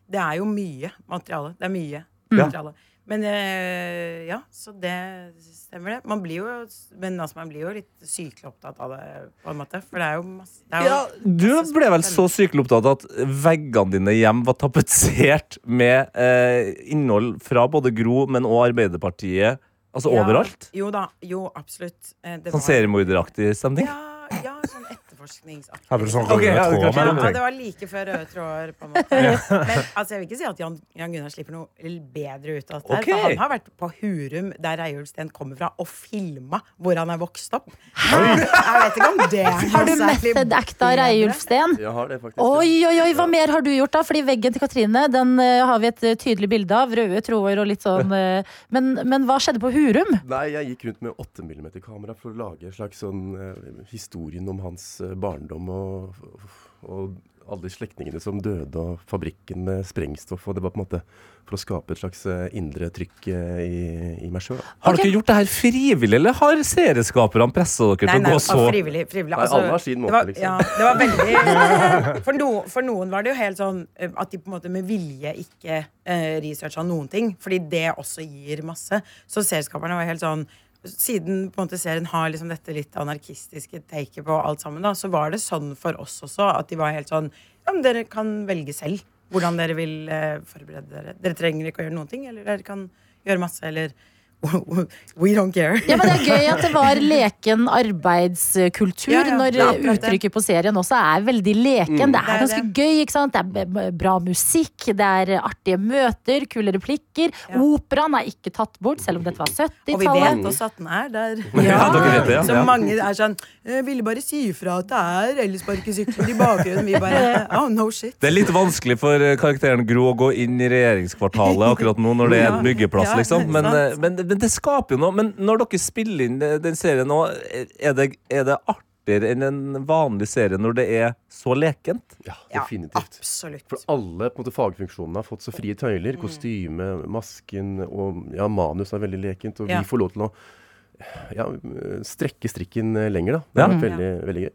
J: Det er jo mye materiale. Det er mye
D: Ja.
J: materiale. Men eh, ja, så det stemmer, det. Man blir jo, men altså, man blir jo litt sykelig opptatt av det, på en måte. For det er jo masse det er jo,
D: Ja, Du ble vel så sykelig opptatt at veggene dine hjem var tapetsert med eh, innhold fra både Gro, men òg Arbeiderpartiet. Altså
J: Ja.
D: overalt.
J: Jo da. Jo, absolutt. Eh, det
D: Sånn
J: var-
D: seriemorderaktig stemning.
J: Ja, ja, sånn etterforskningsaktig.
E: Hadde du sånn
D: Ok, ja,
E: rød tråd
D: kanskje.
E: mellom
J: Ja,
E: ting?
J: det var like før røde tråder, på
C: (laughs)
J: en måte. Men altså, jeg vil ikke si at Jan, Jan Gunnar slipper noe bedre ut av det.
D: Ok.
J: her, For han har vært på Hurum, der Reiulf Steen kommer fra, og filma hvor han er vokst opp. Jeg vet ikke om det er
C: Har du
J: noe særlig
C: method acta Reiulf Steen?
L: Jeg har det, faktisk.
C: Oi, oi, oi, hva mer har du gjort da? Fordi veggen til Katrine den eh, har vi et eh, tydelig bilde av. Røde tråder og litt sånn. eh, men, men hva skjedde på Hurum?
L: Nei, jeg gikk rundt med 8 mm kamera for å lage en slags sånn eh, historien om hans eh,
D: barndom og, og alle slektningene som døde, og fabrikken med sprengstoff. Og det var på en måte for å skape et slags eh, indre trykk eh, i, i meg sjøl.
N: Har dere gjort det her frivillig, eller har serieskaperne pressa dere
J: Nei,
N: til å
J: nei,
N: gå så
J: ah, frivillig. frivillig.
N: Nei,
J: Altså,
N: alle har sin måte,
J: det var,
N: liksom.
J: Ja, det var
N: (laughs)
J: veldig for, no, for noen var det jo helt sånn eh, at de på en måte med vilje ikke eh, researcha noen ting, fordi det også gir masse. Så serieskaperne var helt sånn siden på en måte serien har liksom dette litt anarkistiske taket på alt sammen, da, så var det sånn for oss også at de var helt sånn Ja, men dere kan velge selv hvordan dere vil eh, forberede dere. Dere trenger ikke å gjøre noen ting, eller dere kan gjøre masse, eller (laughs) We don't care.
C: Ja, men Det er gøy at det var leken arbeidskultur
J: Ja, ja.
C: når
J: Det er akkurat det.
C: uttrykket på serien også er veldig leken. Det
J: Mm. Det
C: er
J: er
C: ganske gøy. ikke sant? Det er b- b- bra musikk, det er artige møter, kule replikker. Operaen er ikke tatt bort, selv om dette var
J: Og vi vet
C: 70-tallet.
J: også at den er der.
C: Ja, dere vet det, ja.
J: Så
C: Ja.
J: mange er sånn Jeg ville bare si ifra at det er elsparkesykler i bakgrunnen. Vi bare Oh, no shit.
N: Det er litt vanskelig for eh, karakteren Gro å gå inn i regjeringskvartalet akkurat nå når det er en byggeplass,
J: (laughs) Ja,
N: liksom. Men,
J: sant.
N: eh, men, men det skaper jo noe. Men når dere spiller inn eh, den serien nå, eh, er det, er det artigere enn en vanlig serie når det er så lekent?
D: Ja, definitivt. For alle på en måte, fagfunksjonene har fått så frie
N: Mm.
D: tøyler. Kostyme, masken og ja, manus er veldig lekent. Og
J: Ja.
D: vi får lov til å ja, strekke strikken eh, lenger, da. Det
C: Ja.
D: har vært veldig,
N: Mm.
D: veldig gøy.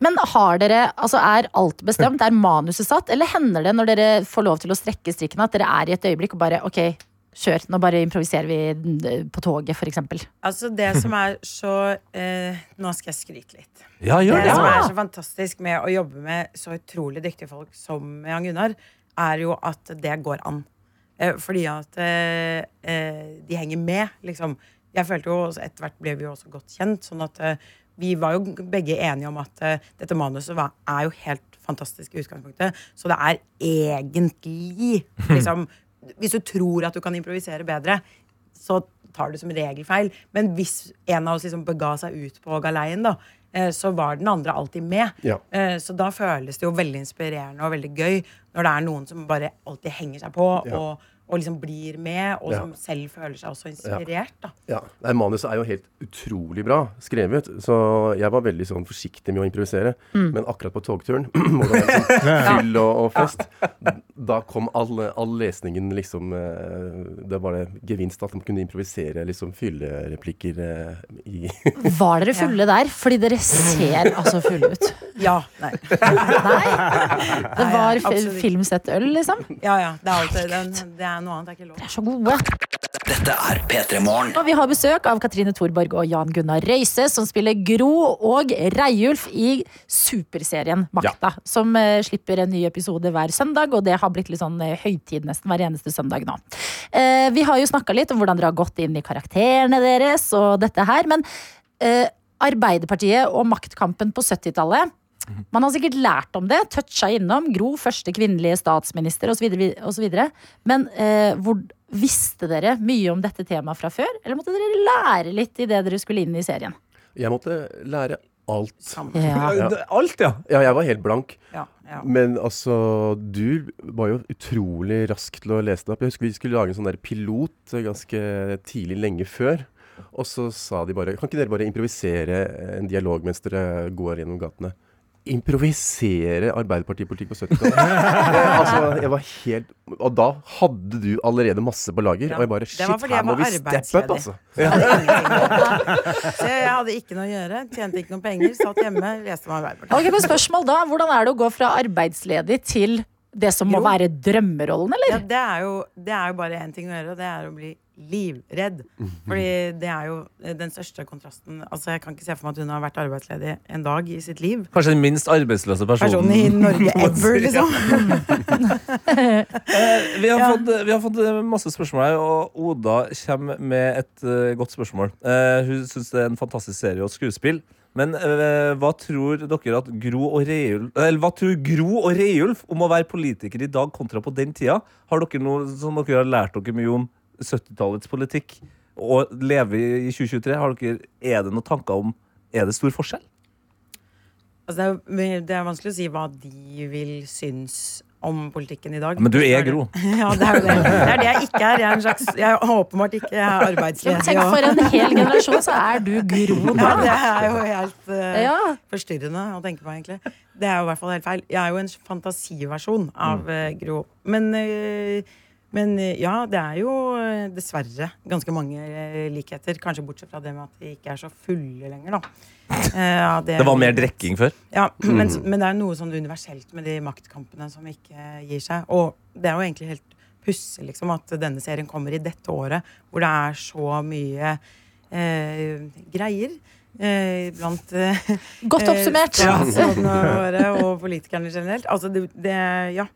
C: Men har dere, altså er alt bestemt? Er manuset satt? Eller hender det når dere får lov til å strekke strikken, at dere er i et øyeblikk og bare OK, kjør. Nå bare improviserer vi eh, på toget, f.eks.
J: Altså, det som er så eh, Nå skal jeg skryte litt.
N: Ja, gjør det.
J: som
N: Ja.
J: er så fantastisk med å jobbe med så utrolig dyktige folk som Jan Gunnar, er jo at det går an. Eh, fordi at eh, eh, de henger med, liksom. Jeg følte jo også- Etter hvert ble vi jo også godt kjent, sånn at eh, vi var jo begge enige om at eh, dette manuset var, er jo helt fantastisk i utgangspunktet, så det er egentlig liksom Hvis du tror at du kan improvisere bedre, så tar du som regel feil. Men hvis en av oss liksom bega seg ut på galeien, da, eh, så var den andre alltid med.
D: Ja.
J: Eh, Så da føles det jo veldig inspirerende og veldig gøy når det er noen som bare alltid henger seg på
D: Ja.
J: og, og liksom blir med, og
D: Ja.
J: som selv føler seg også inspirert. Da.
D: Ja. Nei, manuset er jo helt utrolig bra skrevet, så jeg var veldig sånn forsiktig med å improvisere.
J: Mm.
D: Men akkurat på togturen, (clears throat) hvor det var sånn fyll og, og fest, da kom all, all lesningen liksom eh, Det var det gevinst at man kunne improvisere liksom fyllereplikker eh, i (laughs)
C: Var dere fulle der? Fordi dere ser altså fulle ut.
J: Ja. Nei. (laughs)
C: Det var fi-
J: absolutt.
C: filmsett øl, liksom.
J: Ja, ja. Det er, alltid, det, det er noe annet. Det er ikke lov.
C: Dere er så gode.
O: Dette er P3 Morgen.
C: Og vi har besøk av Katrine Thorborg og Jan Gunnar Røise, som spiller Gro og Reiulf i superserien Makta. Som eh, slipper en ny episode hver søndag, og det har blitt litt sånn eh, høytid nesten hver eneste søndag nå. Eh, vi har jo snakka litt om hvordan dere har gått inn i karakterene deres og dette her, men eh, Arbeiderpartiet og maktkampen på 70-tallet man har sikkert lært om det, toucha innom. Gro, første kvinnelige statsminister osv. Men eh, hvor, visste dere mye om dette temaet fra før? Eller måtte dere lære litt idet dere skulle inn i serien?
D: Jeg måtte lære alt.
C: Ja.
N: Alt, ja.
D: Ja, jeg var helt blank.
J: Ja, ja.
D: Men altså, du var jo utrolig rask til å lese det opp. Jeg husker vi skulle lage en sånn der pilot eh, ganske tidlig, lenge før. Og så sa de bare Kan ikke dere bare improvisere en dialog mens dere går gjennom gatene? Improvisere Arbeiderpartipolitikk på
J: (laughs)
D: 70-tallet? Eh, altså, jeg var helt Og da hadde du allerede masse på lager.
J: Ja,
D: Og jeg bare
J: det
D: Shit,
J: var fordi jeg
D: her må
J: var
D: vi steppe opp, altså.
J: Så (laughs) jeg hadde ikke noe å gjøre. Tjente ikke noen penger. Satt hjemme, leste om Arbeiderpartiet.
C: Ok, men spørsmål da, Hvordan er det å gå fra arbeidsledig til det som må
J: Jo.
C: være drømmerollen,
J: Ja,
C: eller?
J: det, er jo, det er jo bare én ting å gjøre, og det er å bli livredd. Fordi det er jo eh, den største kontrasten. Altså, Jeg kan ikke se for meg at hun har vært arbeidsledig en dag i sitt liv.
N: Kanskje den minst arbeidsløse personen
J: Personen sånn i
N: (laughs)
J: Norge ever, liksom.
N: Eh, Vi har, fått, vi har fått eh, masse spørsmål her, og Oda kommer med et eh, godt spørsmål. Eh, hun syns det er en fantastisk serie og skuespill. Men eh, hva tror dere at Gro og Reulf Eller hva tror Gro og Reulf om å være politiker i dag kontra på den tida? Har dere noe som dere har lært dere mye om 70-tallets politikk og leve i 2023? Har dere, er det noen tanker om Er det stor forskjell?
J: Altså, det, er, det er vanskelig å si hva de vil synes om politikken i dag.
N: Men du er Gro.
J: (laughs) Ja, det er jo det. Det er det jeg ikke er. Jeg er, en slags, jeg er åpenbart ikke jeg er
C: Ja,
J: arbeidsledig.
C: men tenk for en hel generasjon, så er du Gro
J: (laughs) Ja,
C: da.
J: det er jo helt eh,
C: Ja.
J: forstyrrende å tenke på, egentlig. Det er jo i hvert fall helt feil. Jeg er jo en fantasiversjon av
N: Mm.
J: eh, Gro. Men, eh, men eh, ja, det er jo eh, dessverre ganske mange eh, likheter. Kanskje bortsett fra det med at de ikke er så fulle lenger, da. Eh, ja,
N: Det var mer drikking før?
J: ja, men,
N: Mm.
J: men det er noe sånn universelt med de maktkampene som ikke gir seg. Og det er jo egentlig helt pussig liksom, at denne serien kommer i dette året, hvor det er så mye eh, greier. Eh, blant eh,
C: Godt oppsummert.
J: Eh,
N: Ja.
J: (laughs) statsrådene våre og politikerne generelt. Altså, det, det Ja.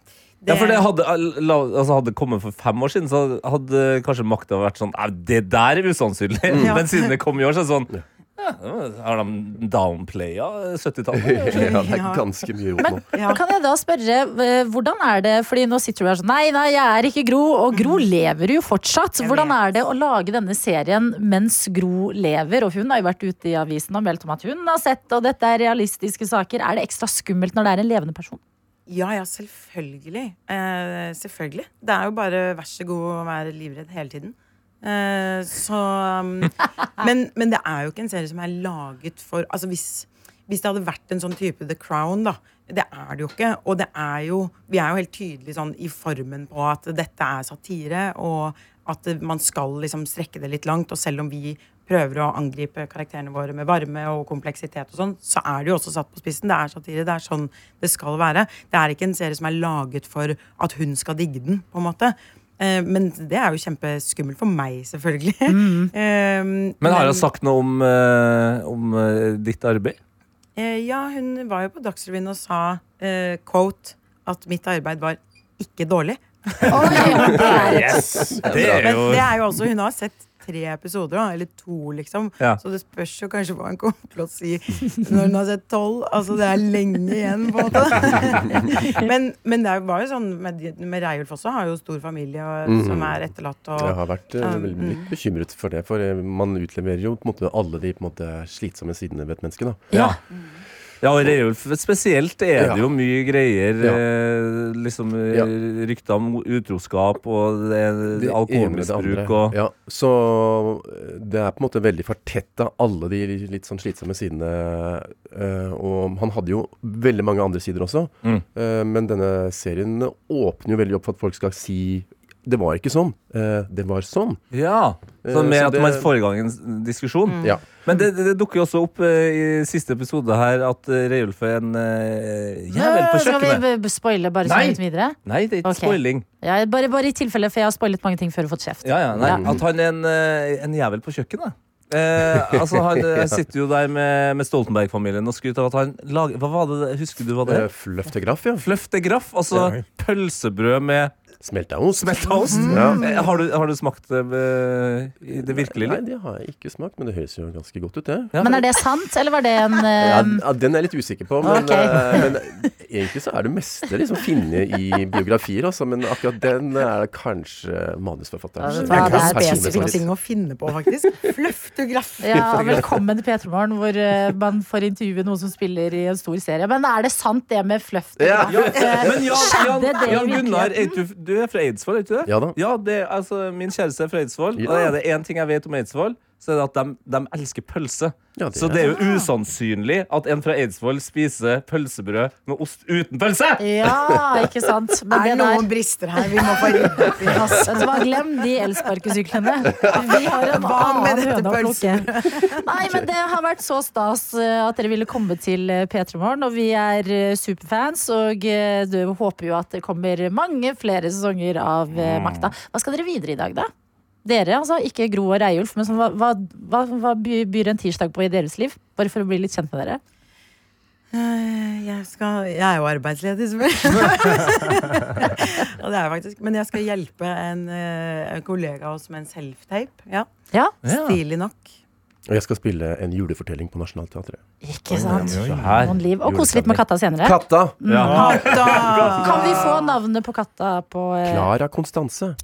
N: Ja, for det
J: (laughs)
N: hadde, la- altså hadde det kommet for fem år siden, så hadde kanskje makta vært sånn "Au, Det der er usannsynlig! (laughs)
J: Ja.
N: Men siden det kom i år, så er det sånn Mm. ja, Har de downplaya 70-tallet?
L: Ja, det er ganske mye rot nå.
C: Men kan jeg da spørre, eh, hvordan er det, fordi nå sitter du her sånn, nei, nei, jeg er ikke Gro, og Gro lever jo fortsatt. Hvordan er det å lage denne serien mens Gro lever, og hun har jo vært ute i avisen og meldt om at hun har sett, og dette er realistiske saker. Er det ekstra skummelt når det er en levende (laughs) person?
J: Ja, ja, selvfølgelig. Eh, selvfølgelig. Det er jo bare vær så god å være livredd hele tiden. Eh, så um, men, men det er jo ikke en serie som er laget for Altså hvis, hvis det hadde vært en sånn type The Crown, da. Det er det jo ikke. Og det er jo Vi er jo helt tydelige sånn i formen på at dette er satire, og at eh, man skal liksom strekke det litt langt. Og selv om vi prøver å angripe karakterene våre med varme og kompleksitet og sånn, så er det jo også satt på spissen. Det er satire. Det er sånn det skal være. Det er ikke en serie som er laget for at hun skal digge den, på en måte. Eh, Men det er jo kjempeskummelt for meg, selvfølgelig. (laughs) Eh,
N: (laughs) Men har hun sagt noe om, eh, om eh, ditt arbeid?
J: eh, Ja, hun var jo på Dagsrevyen og sa, eh, quote, at mitt arbeid var ikke dårlig.
N: Yes! Det er
J: Men
N: jo
J: det er jo også, hun har sett tre episoder, da, eller to, liksom.
N: Ja.
J: Så det spørs jo kanskje hva hun kommer til å si når hun har sett tolv. Altså, det er lenge igjen, på en måte. men, men det er jo bare sånn med, med Reiulf også, har jo stor familie og,
L: Mhm.
J: som er etterlatt. Og,
L: Jeg har vært eh,
J: um,
L: veldig litt bekymret for det, for eh, man utleverer jo på en måte alle de på en måte, slitsomme sidene ved et menneske. Da.
N: Ja. Ja, og Reulf spesielt er
L: Ja.
N: det jo mye greier.
L: Ja.
N: eh, Liksom eh,
L: Ja.
N: rykter om utroskap og det,
L: Det ene med det andre.
N: alkoholmisbruk og
L: ja, Så eh, det er på en måte veldig fortetta, alle de litt sånn slitsomme sidene. eh, Og han hadde jo veldig mange andre sider også,
N: Mm.
L: eh, men denne serien åpner jo veldig opp for at folk skal si det var ikke sånn. eh, Det var sånn.
N: Ja. Så
L: Eh,
N: med
L: så
N: at
L: det-
N: man får i gang en s- diskusjon.
L: Ja.
N: Men det, det, det dukker jo også opp eh, i siste episode her at eh, Reulf er en eh, jævel på
C: Skal vi
N: kjøkkenet.
C: b- b- spoile bare
N: Nei.
C: sånn litt videre?
N: Nei, det er ikke
C: Ok.
N: spoiling.
C: Ja, bare, bare i tilfelle, for jeg har spoilet mange ting før og fått kjeft.
N: Ja, ja, nei,
C: Ja.
N: At han er en, eh, en jævel på kjøkkenet. Eh, altså
C: (laughs)
N: Han eh,
L: Ja.
N: sitter jo der med, med Stoltenberg-familien og skryter av at han lager Hva var det, husker du hva det
L: Eh, Fløftegraff, ja.
N: Fløftegraff, altså
L: Ja.
N: pølsebrød med
L: Smeltaost.
N: Smeltaost?
L: Ja.
N: Eh, Har, du, har du smakt det eh, i det virkelige
L: Nei,
N: liv?
L: det har jeg ikke smakt, men det høres jo ganske godt ut, det.
C: Men er det sant, eller var det en
L: Ja,
C: eh,
L: ja, den er jeg litt usikker på, men,
C: Ok.
L: eh, men egentlig så er det meste liksom funnet i biografier, altså, men akkurat den er det kanskje manusforfatteren
C: Ja,
L: selv.
C: det er
L: Kanskje
J: det er
L: personlig
J: spesifikke
L: favoritt.
J: ting å finne på, faktisk.
C: (laughs)
J: Fløftegraff.
C: Ja, velkommen til P3 Morgen, hvor eh, man får intervjue noen som spiller i en stor serie. Men er det sant, det med fløft?
N: Ja, ja,
C: Eh,
N: men Jan,
C: skjedde
N: Jan,
C: det i
N: Jan Gunnar,
C: virkeligheten?
N: er du, du er fra Eidsvoll, er du ikke det?
L: Ja da.
N: Ja, det, altså, min kjæreste er fra Eidsvoll, og
L: Ja.
N: er det én ting jeg vet om Eidsvoll, så er det at de, de elsker pølse.
L: Ja, det er
N: så det er jo usannsynlig at en fra Eidsvoll spiser pølsebrød med ost uten pølse!
C: Ja, ikke sant. Men
J: Er
C: det
J: det
C: der
J: noen brister her? Vi må få ryddet opp i oss.
C: Vet du hva, glem de elsparkesyklene. Vi har en
J: Hva med
C: annen
J: dette
C: høne å plukke. Nei, men det har vært så stas eh, at dere ville komme til eh, P3 Morgen, og vi er eh, superfans. Og eh, du håper jo at det kommer mange flere sesonger av eh,
L: Mm.
C: Makta. Hva skal dere videre i dag, da? Dere, altså ikke Gro og Reiulf, men sånn, hva, hva, hva, hva by- byr en tirsdag på i deres liv? Bare for å bli litt kjent med dere.
J: Eh, Jeg, skal, jeg er jo arbeidsledig, selvfølgelig. og det er jeg faktisk. Men jeg skal hjelpe en, eh, en kollega av oss med en self-tape. Ja.
L: Ja.
J: Stilig nok.
L: Og jeg skal spille en julefortelling på Nationaltheatret.
C: Ikke sant?
L: Oi, oi, oi.
C: Noen liv. Og kose litt med katta senere.
L: Katta!
C: Mm.
J: Katta!
C: Kan vi få navnet på katta på eh,
L: Klara Konstanse.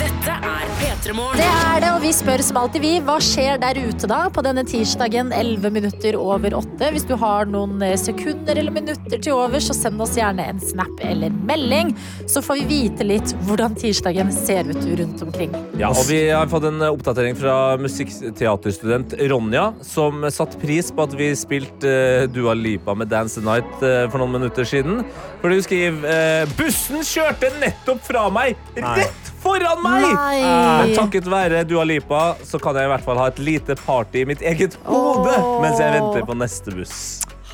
B: Dette er P3
C: Det er det, og vi spør som alltid vi, hva skjer der ute da på denne tirsdagen 11 minutter over 8? Hvis du har noen eh, sekunder eller minutter til over, så send oss gjerne en snap eller melding, så får vi vite litt hvordan tirsdagen ser ut rundt omkring.
N: Ja, og Vi har fått en oppdatering fra musikkteaterstudent Ronja, som satte pris på at vi spilte eh, Dua Lipa med Dance the Night eh, for noen minutter siden. For du skriver eh, Bussen kjørte nettopp fra meg! Rett foran meg!
C: Nei.
N: Men takket være Dua Lipa så kan jeg i hvert fall ha et lite party i mitt eget hode mens jeg venter på neste buss.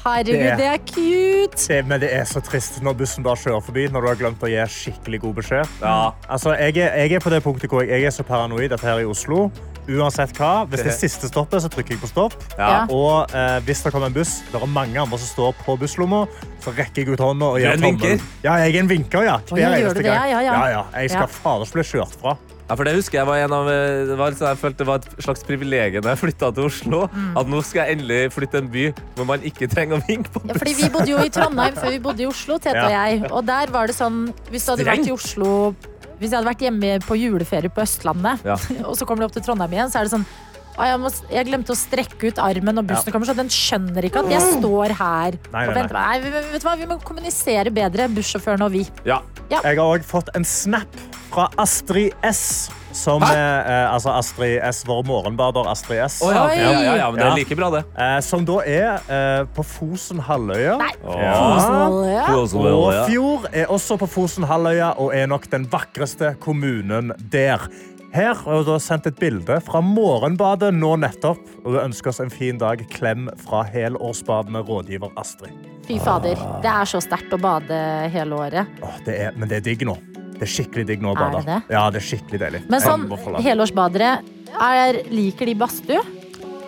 C: Herregud, det er cute!
E: Det, men det er så trist når bussen bare kjører forbi når du har glemt å gi skikkelig god beskjed. Altså, jeg, er, jeg er på det punktet hvor jeg, jeg er så paranoid at her i Oslo Uansett hva, Hvis det er siste stoppet, så trykker jeg på stopp.
N: Ja.
E: Og eh, hvis det kommer en buss, det er mange andre som står på busslomma, så rekker jeg ut hånda og
N: Du er
E: gjør
N: en
E: tommelen.
N: vinker?
E: Ja, jeg er en vinker, ja.
N: ja,
E: Hver
N: gjør du
E: eneste
N: det? Ja,
E: gang.
N: ja.
E: Ja, ja. Jeg skal
N: Ja.
E: fader ikke bli kjørt fra.
N: Ja, for det husker jeg var en av det var litt sånn, Jeg følte det var et slags privilegium da jeg flytta til Oslo. At nå skal jeg endelig flytte til en by hvor man ikke trenger å vinke på
C: Ja, fordi vi bodde jo i Trondheim før vi bodde i Oslo, Tete og
N: Ja.
C: jeg. Og der var det sånn, hvis du hadde vært i
N: Strengt.
C: Oslo Hvis jeg hadde vært hjemme på juleferie på Østlandet,
N: Ja.
C: (laughs) og så kommer du opp til Trondheim igjen, så er det sånn «Å, jeg, må, jeg glemte å strekke ut armen, og bussen
N: Ja.
C: kommer, så den skjønner ikke at jeg står her.
E: Mm. Nei,
C: og
E: nei,
C: venter. Nei, vi- vet du hva, Vi må kommunisere bedre, bussjåføren og vi. Ja.
E: Jeg har òg fått en snap fra Astrid S. Som er, eh, altså Astrid S, vår morgenbader Astrid S.
N: Å ja, ok. Ja, ja, ja, men det er like bra, det.
E: Eh, som da er eh, på Fosenhalvøya. Ja.
N: Fosenhalvøya. Fosenhalvøya.
E: Åfjord er også på Fosenhalvøya og er nok den vakreste kommunen der. Her har du sendt et bilde fra morgenbadet nå nettopp. Og vi ønsker oss en fin dag. Klem fra helårsbadende rådgiver Astrid.
C: Fy fader. Det er så sterkt å bade hele året.
E: Åh, det er, men det er digg nå. Det er skikkelig digg nå å
C: Er
E: bade.
C: det
E: Ja, det er skikkelig deilig.
C: Men sånn,
E: Jeg må forlate.
C: helårsbadere, er, liker de badstue?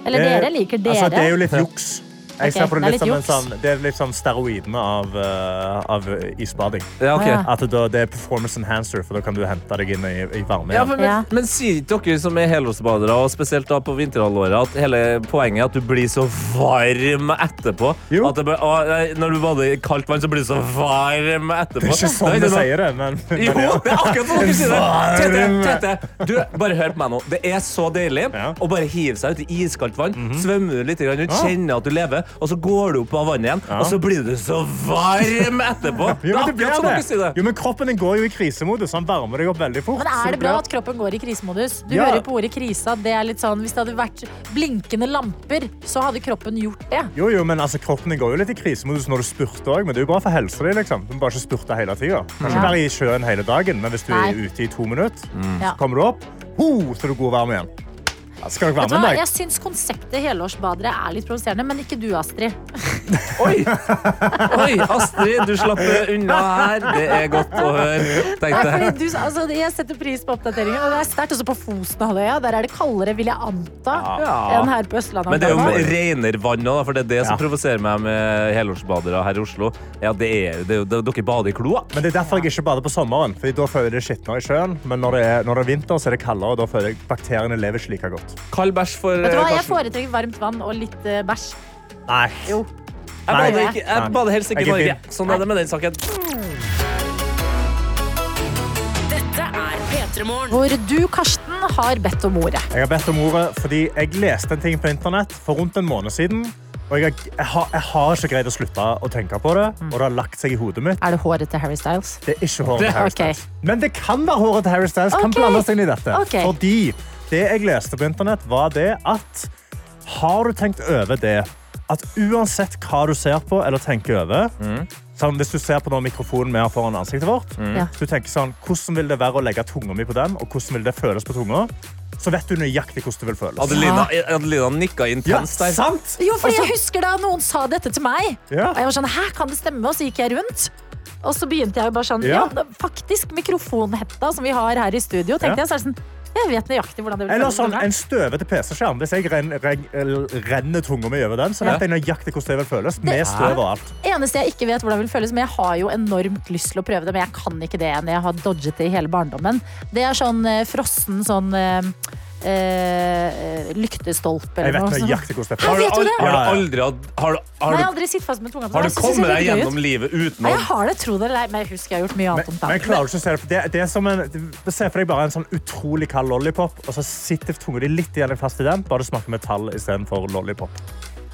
C: Eller
E: Eh,
C: dere liker dere?
E: Altså, det er jo litt juks. Jeg
C: Ok,
E: ser på
C: det
E: det,
C: er
E: litt som
C: litt
E: en
C: juks.
E: sånn, det er litt sånn steroidene av, eh, av isbading.
N: Ja, ok. Ja.
E: At det, da- det er performance enhancer, for da kan du hente deg inn i, i varme.
N: Ja,
E: igjen.
N: men, men, men sier ikke dere som er helårsbadere, og spesielt da på vinterhalvåret, at hele poenget er at du blir så varm etterpå? At det, bare- å, nei, når du bader i kaldt vann, så blir du så varm etterpå.
E: Det er ikke sånn
N: Nei,
E: vi
N: det er
E: sier
N: noe-
E: det, men men
N: Jo,
E: ja.
N: det er akkurat sånn dere sier det!
E: Varm.
N: Tete, Tete, du, bare hør på meg nå. Det er så deilig å bare hive seg ut i iskaldt vann, svømme litt grann rundt,
E: Ja.
N: kjenne at du lever, og så går du opp av vannet igjen, og så blir du så varm etterpå. (laughs) Det
E: Jo,
N: er
E: men, det
N: akkurat sånn
E: blir
N: dere sier det.
E: det. jo, men kroppen din går jo i krisemodus. Han varmer deg opp veldig fort.
C: Men er det
E: så
C: bra
E: blir-
C: at kroppen går i krisemodus? Du
E: Ja.
C: hører jo på ordet krisa. Det er litt sånn, hvis det hadde vært blinkende lamper, så hadde kroppen gjort det.
E: Jo, jo, men altså, kroppen din går jo litt i krisemodus når du spurter òg, men det er jo bra for helsa di. Liksom. Du må bare ikke spurte hele tida. Du kan
C: Ja.
E: ikke være i sjøen hele dagen, men hvis du
C: Nei.
E: er ute i to minutter,
C: Ja.
E: så kommer du opp, ho, så er du god og varm igjen. Ja, Skal dere
C: Vet du
E: være
C: hva?
E: med
C: Jeg
E: meg?
C: syns konseptet helårsbadere er litt provoserende, men ikke du, Astrid.
N: Oi, Astrid, du slapp unna her. Det er godt å høre.
C: Nei,
N: Tenkte
C: fordi
N: jeg.
C: du, altså, jeg setter pris på oppdateringen, og det er sterkt. Også på Fosenhalvøya. Der er det kaldere, vil jeg anta,
N: Ja.
C: enn her på Østlandet.
N: Men det er jo
C: Antageligvis.
N: renere vann òg, for det er det som provoserer meg med helårsbadere her i Oslo. Ja, det er, det er, det er, dere bader i kloa.
E: Men det er derfor jeg ikke bader på sommeren. Fordi da føler jeg det skitnere i sjøen. Men når det er, når det er vinter, så er det kaldere, og da føler jeg bakteriene lever ikke like godt.
N: Kald bæsj for
C: Vet du hva?
N: eh,
C: Jeg foretrekker varmt vann og litt eh, bæsj.
E: Nei.
C: Jo.
N: Jeg
E: Nei.
N: bader, ikke, jeg bader helst ikke i
E: Jeg er
N: Norge.
E: fin.
N: Sånn er det med den saken.
B: Dette er P3 Morgen.
C: Hvor du, Karsten, har bedt om ordet.
E: Jeg har bedt om ordet fordi jeg leste en ting på internett for rundt en måned siden. Og jeg, har- jeg, har, jeg har ikke greid å slutte å tenke på det, og det har lagt seg i hodet mitt.
C: Er det håret til Harry Styles?
E: Det er ikke håret til Harry
C: Ok.
E: Styles. Men det kan være håret til Harry Styles. Kan
C: Ok.
E: blande seg inn i dette.
C: Ok.
E: Fordi det jeg leste på internett, var det at Har du tenkt over det at uansett hva du ser på eller tenker over sånn, Hvis du ser på når mikrofonen vi har foran ansiktet vårt,
N: Mm. Ja.
E: så du tenker sånn Hvordan vil det være å legge tunga mi på den, og hvordan vil det føles på tunga? Så vet du nøyaktig hvordan det vil føles.
N: Adelina, Adelina nikka intenst
E: Ja,
N: der.
E: sant?
C: Jo, fordi jeg husker da noen sa dette til meg.
E: Ja.
C: Og jeg var sånn, hæ, kan det stemme? Og så gikk jeg rundt. Og så begynte jeg bare sånn, ja,
E: Ja.
C: da- faktisk mikrofonhetta som vi har her i studio, tenkte
E: Ja.
C: jeg, så er det sånn, jeg vet nøyaktig hvordan det vil
E: Eller
C: føles for
E: sånn
C: meg.
E: en støvete PC-skjerm. Hvis jeg ren, ren, renner tunga mi over den, så vet jeg nøyaktig hvordan det vil føles. Med støv og alt.
C: Eneste jeg ikke vet hvordan det vil føles, men jeg har jo enormt lyst til å prøve det, men jeg kan ikke det når jeg har dodget det i hele barndommen. Det er sånn eh, frossen sånn eh, eh, lyktestolpe
E: Jeg
C: eller
E: vet
C: noe. sånt.
E: nøyaktig hvordan det er.
C: Hæ, sånn. vet du det?
D: Har du aldri hatt har, du- har,
C: Nei, jeg
D: du-
C: har aldri sittet fast med tunga på
D: har
C: det. Jeg
D: du
C: synes det
D: kommet
C: ser
D: deg
C: litt gøy ut.
D: gjennom livet uten
C: Nei,
D: å
C: jeg har det, tro det eller ei, men jeg husker jeg har gjort mye annet om
E: Men jeg klarer
C: dagen.
E: ikke å se det, for det, det er som en, Se for deg bare en sånn utrolig kald lollipop, og så sitter tunga di litt igjen fast i den, bare du smaker metall istedenfor lollipop.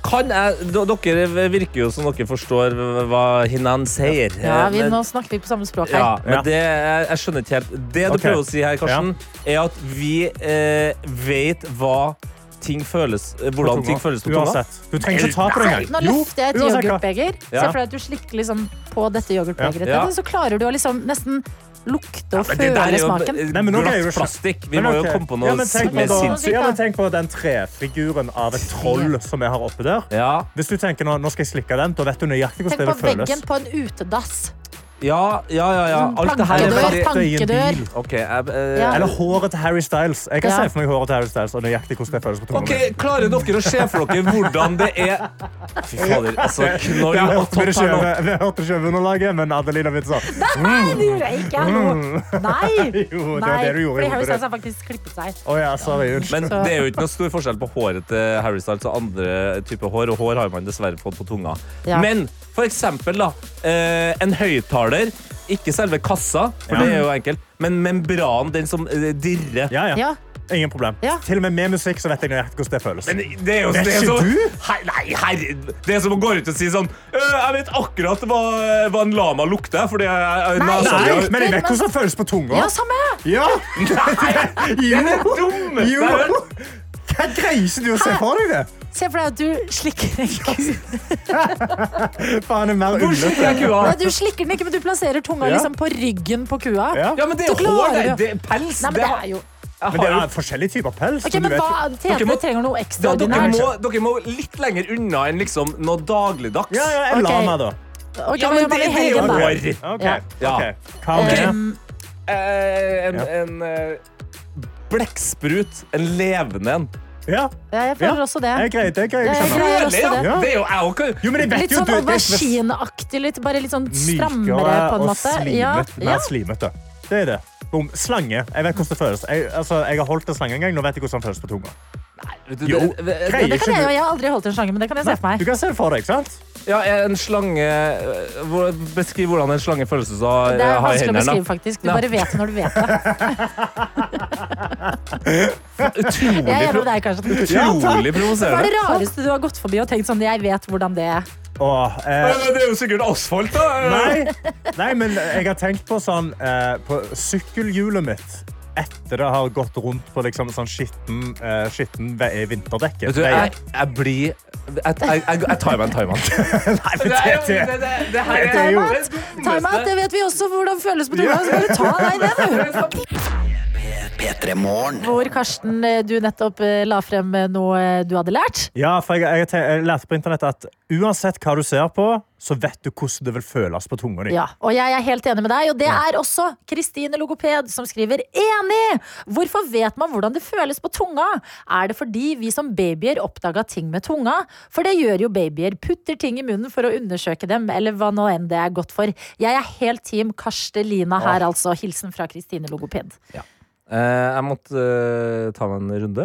N: Kan jeg, d- dere virker jo som dere forstår hva Hinan sier.
C: Ja, vi,
N: Men-
C: nå snakker vi på samme språk her.
N: Ja, men det, jeg, jeg skjønner ikke helt. Det du
E: Ok.
N: prøver å si her, Karsten, er at vi eh, vet hva ting føles, eh, hvordan
E: tunga.
N: ting føles på tunga.
E: Uansett. Du trenger ikke ta på det engang.
C: Nå løfter jeg et
E: uansett hva.
C: yoghurtbeger.
N: Ja.
C: Se for deg at du slikker liksom på dette yoghurtbegeret.
N: Ja.
C: ditt, Så klarer du å liksom nesten lukte og
N: men det der er
C: føle
N: jo-
C: smaken.
N: eh,
E: Nei, men nå
N: Glatt
E: greier du ikke.
N: plastikk. Vi
E: Men
N: må jo
E: ok.
N: komme på noe
E: ja, men tenk
N: mer
E: på da-
N: sinnssykt.
E: Ja, men tenk på den trefiguren av et troll som jeg har oppe der. Hvis du tenker nå, nå skal jeg slikke den, da vet du nøyaktig
C: Tenk
E: hvordan det
C: på
E: vil føles.
C: veggen på en utedass.
N: Ja, ja, ja. Sånn ja. Alt det her er
C: Plankedør,
N: veldig-
C: plankedør.
N: Ok, jeg, eh,
C: Ja.
E: Eller håret til Harry Styles. Jeg kan
C: Ja.
E: se for meg håret til Harry Styles og nøyaktig hvordan det føles på tunga.
N: Ok, Klarer dere å se for dere hvordan det er Fy fader, altså
E: Det
N: knoll og
E: hørte
N: topp
E: dere
N: her
E: ikke
N: nå.
E: over- det hørte dere ikke over underlaget, men Adelina begynte sånn.
C: Nei, det gjorde jeg ikke. Hallo. Nei.
E: (laughs) Mm. Jo, det var
C: Nei.
E: det du
C: Fordi
E: gjorde i hodet
C: Harry
E: ditt.
C: Styles har faktisk klippet seg.
E: Å ja, sorry. Unnskyld.
N: Men det er jo ikke noe stor forskjell på håret til Harry Styles og andre typer hår, og hår har man dessverre fått på tunga.
C: Ja.
N: Men for eksempel da, eh, en høyttaler, ikke selve kassa, for
E: Ja.
N: det er jo enkelt, men membranen, den som eh, dirrer.
E: Ja, ja.
C: Ja.
E: Ingen problem.
C: Ja.
E: Til og med med musikk så vet jeg nøyaktig hvordan det føles.
N: Men det er jo
E: Vet
N: det er
E: ikke
N: som,
E: du?
N: Hei, nei, herre, det er som å gå ut og si sånn «Øh, Jeg vet akkurat hva, hva en lama lukter, fordi jeg, jeg,
C: Nei.
N: nesa mi har-
E: Nei, men Altså, jeg vet hvordan det føles på tunga.
C: Ja, samme!
E: Ja!
N: Det er det
E: Jo!
N: dummeste jeg har hørt.
E: jo. Hva greier du å se for deg det?
C: Se for deg at du slikker
E: (laughs)
C: en kue.
E: Faen, det er mer
N: Hvor slikker jeg
E: ullete.
N: kua?
C: Nei, Du slikker den ikke, men du plasserer tunga
E: Ja.
C: liksom på ryggen på kua.
E: Ja.
N: Ja, men det er
C: Du
N: jo hår,
C: klarer
N: det, er-
C: jo.
N: det er pels.
C: Nei, men det er jo
N: jeg
E: Men det
N: har jo
E: er forskjellige typer
C: Ok,
E: pels. så Altså, du
C: men
E: vet-
C: hva,
N: Dere
C: Tete
N: må-
C: trenger
N: Da,
C: noe
N: dere,
C: ekstraordinært.
N: må, dere må litt lenger unna enn liksom noe dagligdags.
E: Ja, ja, en
C: Ok.
E: lama, da.
C: Ok,
N: Ja,
C: hva
N: men
C: gjør man
N: det- det
C: i
N: er jo
C: helgen, da?
N: hår.
E: Ok,
C: Ja.
N: Ja.
E: ok. Hva med
N: Eh, en
E: Ja.
N: en eh, blekksprut. En levende en.
E: Ja,
C: Ja, jeg føler også det.
E: jeg greier det. Jeg greier
C: Ja,
E: å
C: jeg
E: skjønne.
C: greier også
N: ja.
C: det.
E: Ja.
N: Det er jo jeg òg.
E: Jo, men jeg vet
C: Litt
E: jo
C: sånn
E: du- det-
C: aubergineaktig, litt, bare litt sånn strammere
E: Mykere
C: på en
E: og
C: måte. Ja,
E: slimet. Mer
C: ja.
E: slimete. Det er det. Bom. Slange. Jeg vet hvordan det føles. Jeg, altså, jeg har holdt en slange en gang. Nå vet jeg hvordan den føles på tunga. Jo,
C: Ja,
E: greier
C: det kan jeg,
E: ikke
C: jo.
E: du.
C: jeg har aldri holdt en slange, men det kan jeg se for
E: Du
C: meg.
E: kan se det for deg, ikke sant?
N: Ja, en slange eh, hvor- Beskriv hvordan en slange føles ut å ha
C: Det er
N: ha i
C: vanskelig å
N: hendene.
C: beskrive, faktisk. Du bare vet det når du vet det.
N: (laughs) Utrolig,
C: Jeg er enig
N: pro
C: med deg, Karsten.
N: utrolig
C: Hva er
N: provoserende.
C: det rareste du har gått forbi og tenkt sånn Jeg vet hvordan det er.
E: Åh, eh,
N: Eh, Det er jo sikkert asfalt, da.
E: Nei. Nei, men jeg har tenkt på sånn eh, På sykkelhjulet mitt etter det har gått rundt på liksom sånn skitten, eh, skitten ve- vinterdekket.
N: Vet du, jeg, jeg blir Jeg, jeg, jeg, jeg tar meg en
E: (laughs)
N: timeout.
E: Nei, men det, det, det,
N: her
E: Det er jo-
C: Timeout! Timeout, det vet vi også hvordan føles på tunga. Så bare ta deg det, du.
A: P3 Morgen.
C: Hvor Karsten, du nettopp eh, la frem noe du hadde lært.
E: Ja, for jeg, jeg, te- jeg lærte på internett at uansett hva du ser på, så vet du hvordan det vil føles på tunga di.
C: Ja, og jeg er helt enig med deg, og det er også Kristine Logoped som skriver enig! Hvorfor vet man hvordan det føles på tunga? Er det fordi vi som babyer oppdaga ting med tunga? For det gjør jo babyer, putter ting i munnen for å undersøke dem, eller hva nå enn det er godt for. Jeg er helt team Karstelina her, altså. Hilsen fra Kristine Logoped.
N: Eh, jeg måtte eh, ta meg en runde.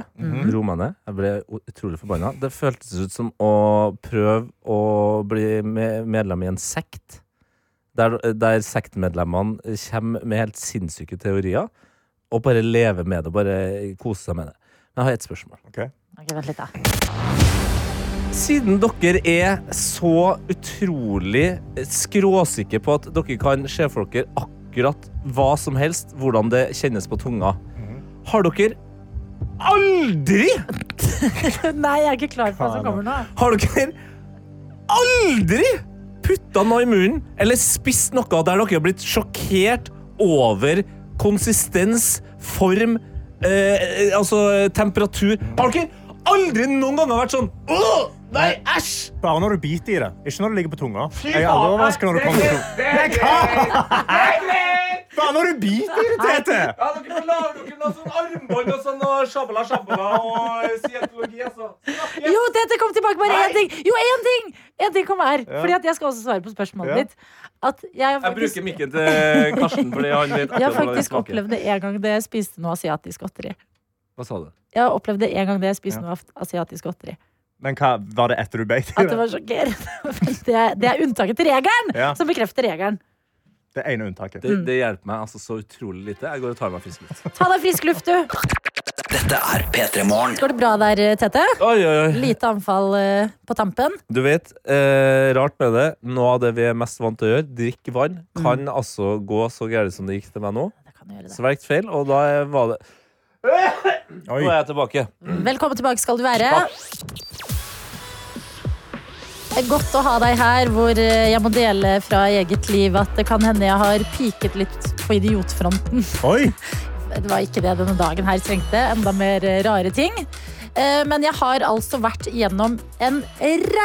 N: Roe meg ned. Jeg ble o- utrolig forbanna. Det føltes ut som å prøve å bli me- medlem i en sekt. Der, der sektmedlemmene kommer med helt sinnssyke teorier, og bare lever med det. Bare koser seg med det. Men jeg har ett spørsmål.
C: Ok, vent litt da.
N: Siden dere er så utrolig skråsikre på at dere kan se for dere akkurat hva som helst, hvordan det kjennes på tunga, har dere aldri
C: (laughs) Nei, jeg er ikke klar for hva som kommer nå.
N: Har dere aldri putta noe i munnen eller spist noe der dere har blitt sjokkert over konsistens, form, eh, altså temperatur? Har dere aldri noen ganger vært sånn Åh, nei, æsj!
E: Bare når du biter i det, ikke når det ligger på tunga. Jeg er aldri overrasket når det kommer til tunga. Nei, hva? Bare når du biter i det, Tete!
N: Ja, dere får lage dere noe sånn armbånd og sånn og sjabbala sjabbala og scientologi, altså. Snakkes.
C: Jo, dette kom tilbake bare én ting! Jo, én ting! En ting kom her. Fordi at jeg skal også svare på spørsmålet
E: Ja.
C: ditt. At jeg,
N: Jeg
C: faktisk,
N: bruker mikken til Karsten fordi han vet
C: (laughs) jeg
N: akkurat hvordan
C: har
N: det
C: faktisk
N: smaker.
C: opplevd det en gang da jeg spiste noe asiatisk godteri.
D: Hva sa du?
C: Jeg opplevde en gang det jeg spiste noe asiatisk godteri.
E: Men hva, var det etter du beit (laughs) i
C: At det var sjokkerende. (laughs) Men Det er, det er unntaket til regelen
E: Ja.
C: som bekrefter regelen.
E: Det ene unntaket.
C: Mm.
D: Det, det hjelper meg altså så utrolig lite. Jeg går og tar meg frisk luft.
C: Ta deg frisk luft, du.
A: Dette er P3 Morgen.
C: Går det bra der, eh, Tete?
D: Oi, oi, oi.
C: Lite anfall eh, på tampen.
D: Du vet, eh, rart med det. Noe av det vi er mest vant til å gjøre, drikke vann,
C: Mm.
D: kan altså gå så gærent som det gikk til meg nå. Svelgt feil, og da er- var det Nå er jeg tilbake.
C: Velkommen tilbake skal du være. Det er godt å ha deg her, hvor eh, jeg må dele fra eget liv at det kan hende jeg har piket litt på idiotfronten.
E: Oi!
C: Det var ikke det denne dagen her trengte. Enda mer eh, rare ting. Eh, Men jeg har altså vært gjennom en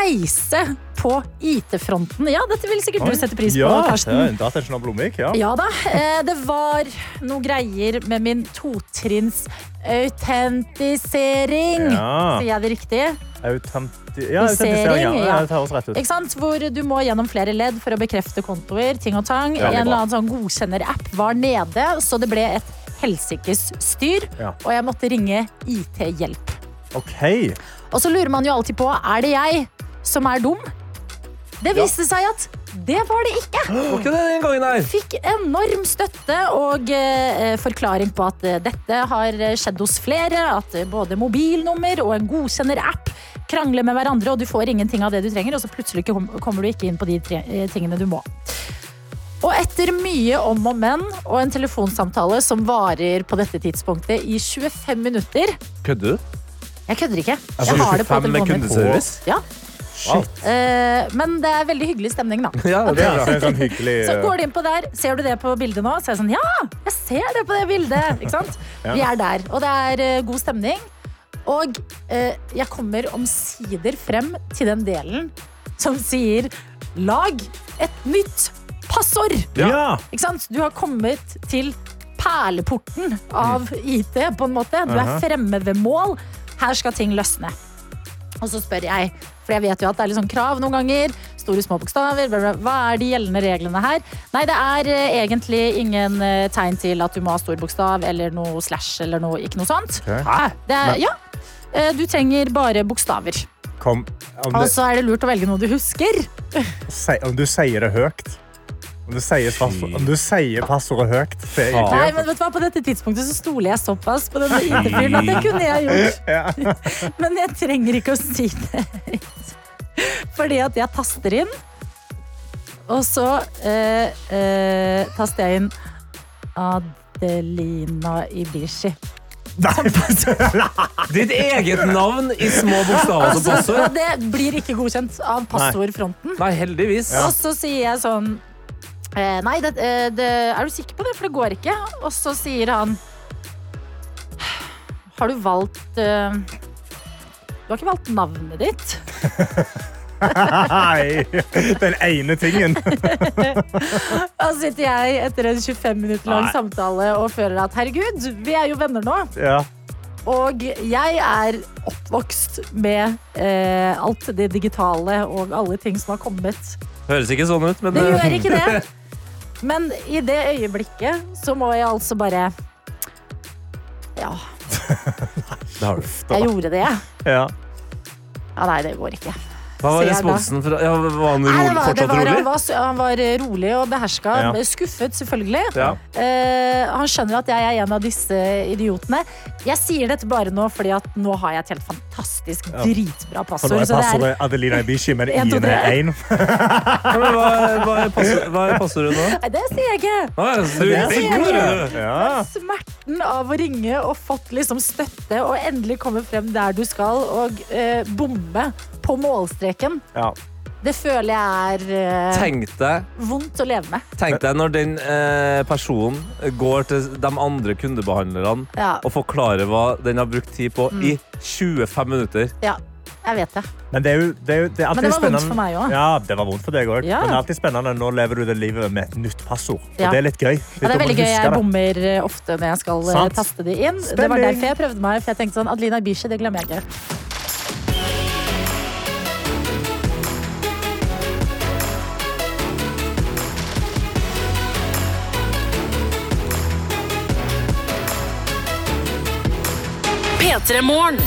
C: reise på IT-fronten. Ja, dette vil sikkert
E: Oi.
C: du sette pris på,
E: ja,
C: Karsten.
E: Ja, dataen av Blomvik, ja.
C: Ja da. eh, Det var noen greier med min totrinns autentisering.
E: Ja.
C: Sier jeg det riktig?
E: Autenti ja, autentisering. Ja. Ja, det høres rett ut.
C: Ikke sant? Hvor du må gjennom flere ledd for å bekrefte kontoer. ting og tang.
E: Ja, det er
C: en eller
E: bra.
C: annen sånn godkjenner-app var nede, så det ble et helsikes styr.
E: Ja.
C: Og jeg måtte ringe IT-hjelp.
E: OK.
C: Og så lurer man jo alltid på er det jeg som er dum. Det viste seg at det var det ikke.
D: Var ikke det den gangen her?
C: Fikk enorm støtte og eh, forklaring på at eh, dette har skjedd hos flere. At eh, både mobilnummer og en godkjenner-app krangler med hverandre, og du får ingenting av det du trenger, og så plutselig ikke kom- kommer du ikke inn på de tre- eh, tingene du må. Og etter mye om og men og en telefonsamtale som varer på dette tidspunktet i 25 minutter
D: Kødder du?
C: Jeg kødder ikke.
D: Altså,
C: Jeg har det på
D: 25 med
C: telefonen. min.
D: kundeservice?
C: Ja.
D: Wow.
C: Eh, men det er veldig hyggelig stemning, da.
D: Ja, det er bra.
E: sånn hyggelig
C: Så går du inn på der, ser du det på bildet nå? Så er jeg sånn, ja, jeg ser det på det bildet. Ikke sant?
E: Ja.
C: Vi er der, og det er eh, god stemning. Og eh, jeg kommer omsider frem til den delen som sier lag et nytt passord.
E: Ja.
C: Ikke sant? Du har kommet til perleporten av IT, på en måte. Du er
P: Aha.
C: fremme ved mål. Her skal ting løsne. Og så spør jeg, for jeg vet jo at det er litt sånn krav noen ganger. Store små bokstaver. Bla bla. Hva er de gjeldende reglene her? Nei, det er eh, egentlig ingen eh, tegn til at du må ha stor bokstav eller noe slash eller noe, ikke noe sånt.
E: Ok.
C: Det er,
E: Men-
C: ja. Eh, Du trenger bare bokstaver.
E: Kom, om,
C: Og
E: det,
C: så er det lurt å velge noe du husker.
E: si, om du sier det høyt Om du sier, passord, om du sier passordet høyt det er egentlig-
C: Nei, men vet du hva? På dette tidspunktet så stoler jeg såpass på denne IT-fyren at det kunne jeg gjort.
E: Ja.
C: (laughs) Men jeg trenger ikke å si det. Fordi at jeg taster inn, og så eh, eh, taster jeg inn Adelina Ibishi.
D: Ditt eget navn i små bokstaver som
C: Altså, og
D: passord.
C: det blir ikke godkjent av passordfronten.
D: Nei, heldigvis.
C: Og så sier jeg sånn eh, Nei, det, eh, det, er du sikker på det? For det går ikke. Og så sier han Har du valgt eh, Du har ikke valgt navnet ditt?
E: (laughs) Nei, den ene tingen.
C: Da sitter jeg etter en 25 minutter lang
E: Nei.
C: samtale og føler at herregud, vi er jo venner nå.
E: Ja.
C: Og jeg er oppvokst med eh, alt det digitale og alle ting som har kommet.
D: Høres ikke sånn ut, men
C: Det gjør ikke det.
D: (laughs)
C: Men i det øyeblikket så må jeg altså bare Ja,
D: (laughs) Det har du.
C: jeg gjorde det. jeg.
E: Ja.
C: Ja, nei, det går ikke.
D: Hva var
C: Ser jeg da.
D: responsen fra ja, Var han
C: Nei,
D: rolig,
C: det var, det
D: fortsatt
C: var,
D: rolig?
C: han, var, han var rolig og beherska.
D: Ja.
C: Skuffet, selvfølgelig.
D: Ja.
C: Eh, han skjønner at jeg er en av disse idiotene. Jeg sier dette bare nå fordi at nå har jeg et helt fantastisk
E: Ja.
C: dritbra
E: For
C: passord.
E: nå er
C: så det
E: passordet
C: er-
E: Adelina Ibishi, men
C: En, to,
E: i-en er
C: tre.
E: én.
D: Ja, men hva, hva er passord- hva er passordet nå?
C: Nei, det sier jeg ikke.
D: Å, ja, så du-
C: Det
D: det
C: sier
D: går,
C: jeg.
D: du.
E: Ja.
C: Smerten av å ringe og fått liksom støtte og endelig komme frem der du skal og eh, bombe på målstreken,
E: Ja.
C: det føler jeg er eh,
D: Tenk deg
C: vondt å leve med.
D: Tenk deg når den eh, personen går til de andre kundebehandlerne
C: Ja.
D: og forklarer hva den har brukt tid på
C: Mm.
D: i 25 minutter.
C: Ja, jeg vet det.
E: Men det, er jo, det, er jo, det, er alltid
C: Men det var vondt
E: spennende.
C: for meg også.
E: Ja, det var vondt for deg òg.
C: Ja.
E: Men det er alltid spennende. Nå lever du det livet med et nytt passord.
C: Ja.
E: Og det er litt gøy.
C: Ja, det er
E: Litt om å
C: veldig gøy.
E: huske
C: Jeg
E: det.
C: bommer eh, ofte når jeg skal eh,
E: Sant.
C: taste de inn. Det var
E: Stemning.
C: derfor jeg prøvde meg. For jeg tenkte sånn, Adelina Ibishi, det glemmer jeg ikke.
Q: P3morgen.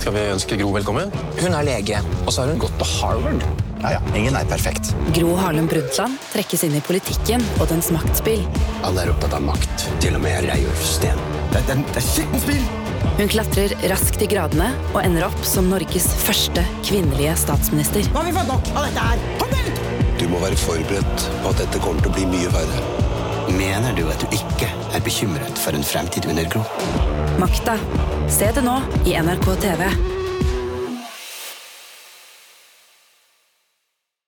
N: Skal vi ønske Gro velkommen? Hun er lege, og så har hun gått på Harvard. Ja, ja. Ingen er perfekt.
M: Gro Harlem Brundtland trekkes inn i politikken og dens maktspill.
N: Alle er opptatt av makt. Til og med Reiulf Steen. Det, det, det er skikkelig spill!
M: Hun klatrer raskt i gradene og ender opp som Norges første kvinnelige statsminister.
R: Nå har vi fått nok av dette her! Kom igjen!
N: Du må være forberedt på at dette kommer til å bli mye verre. Mener du at du ikke er bekymret for en fremtid under Gro?
M: Makta. Se det nå i NRK TV.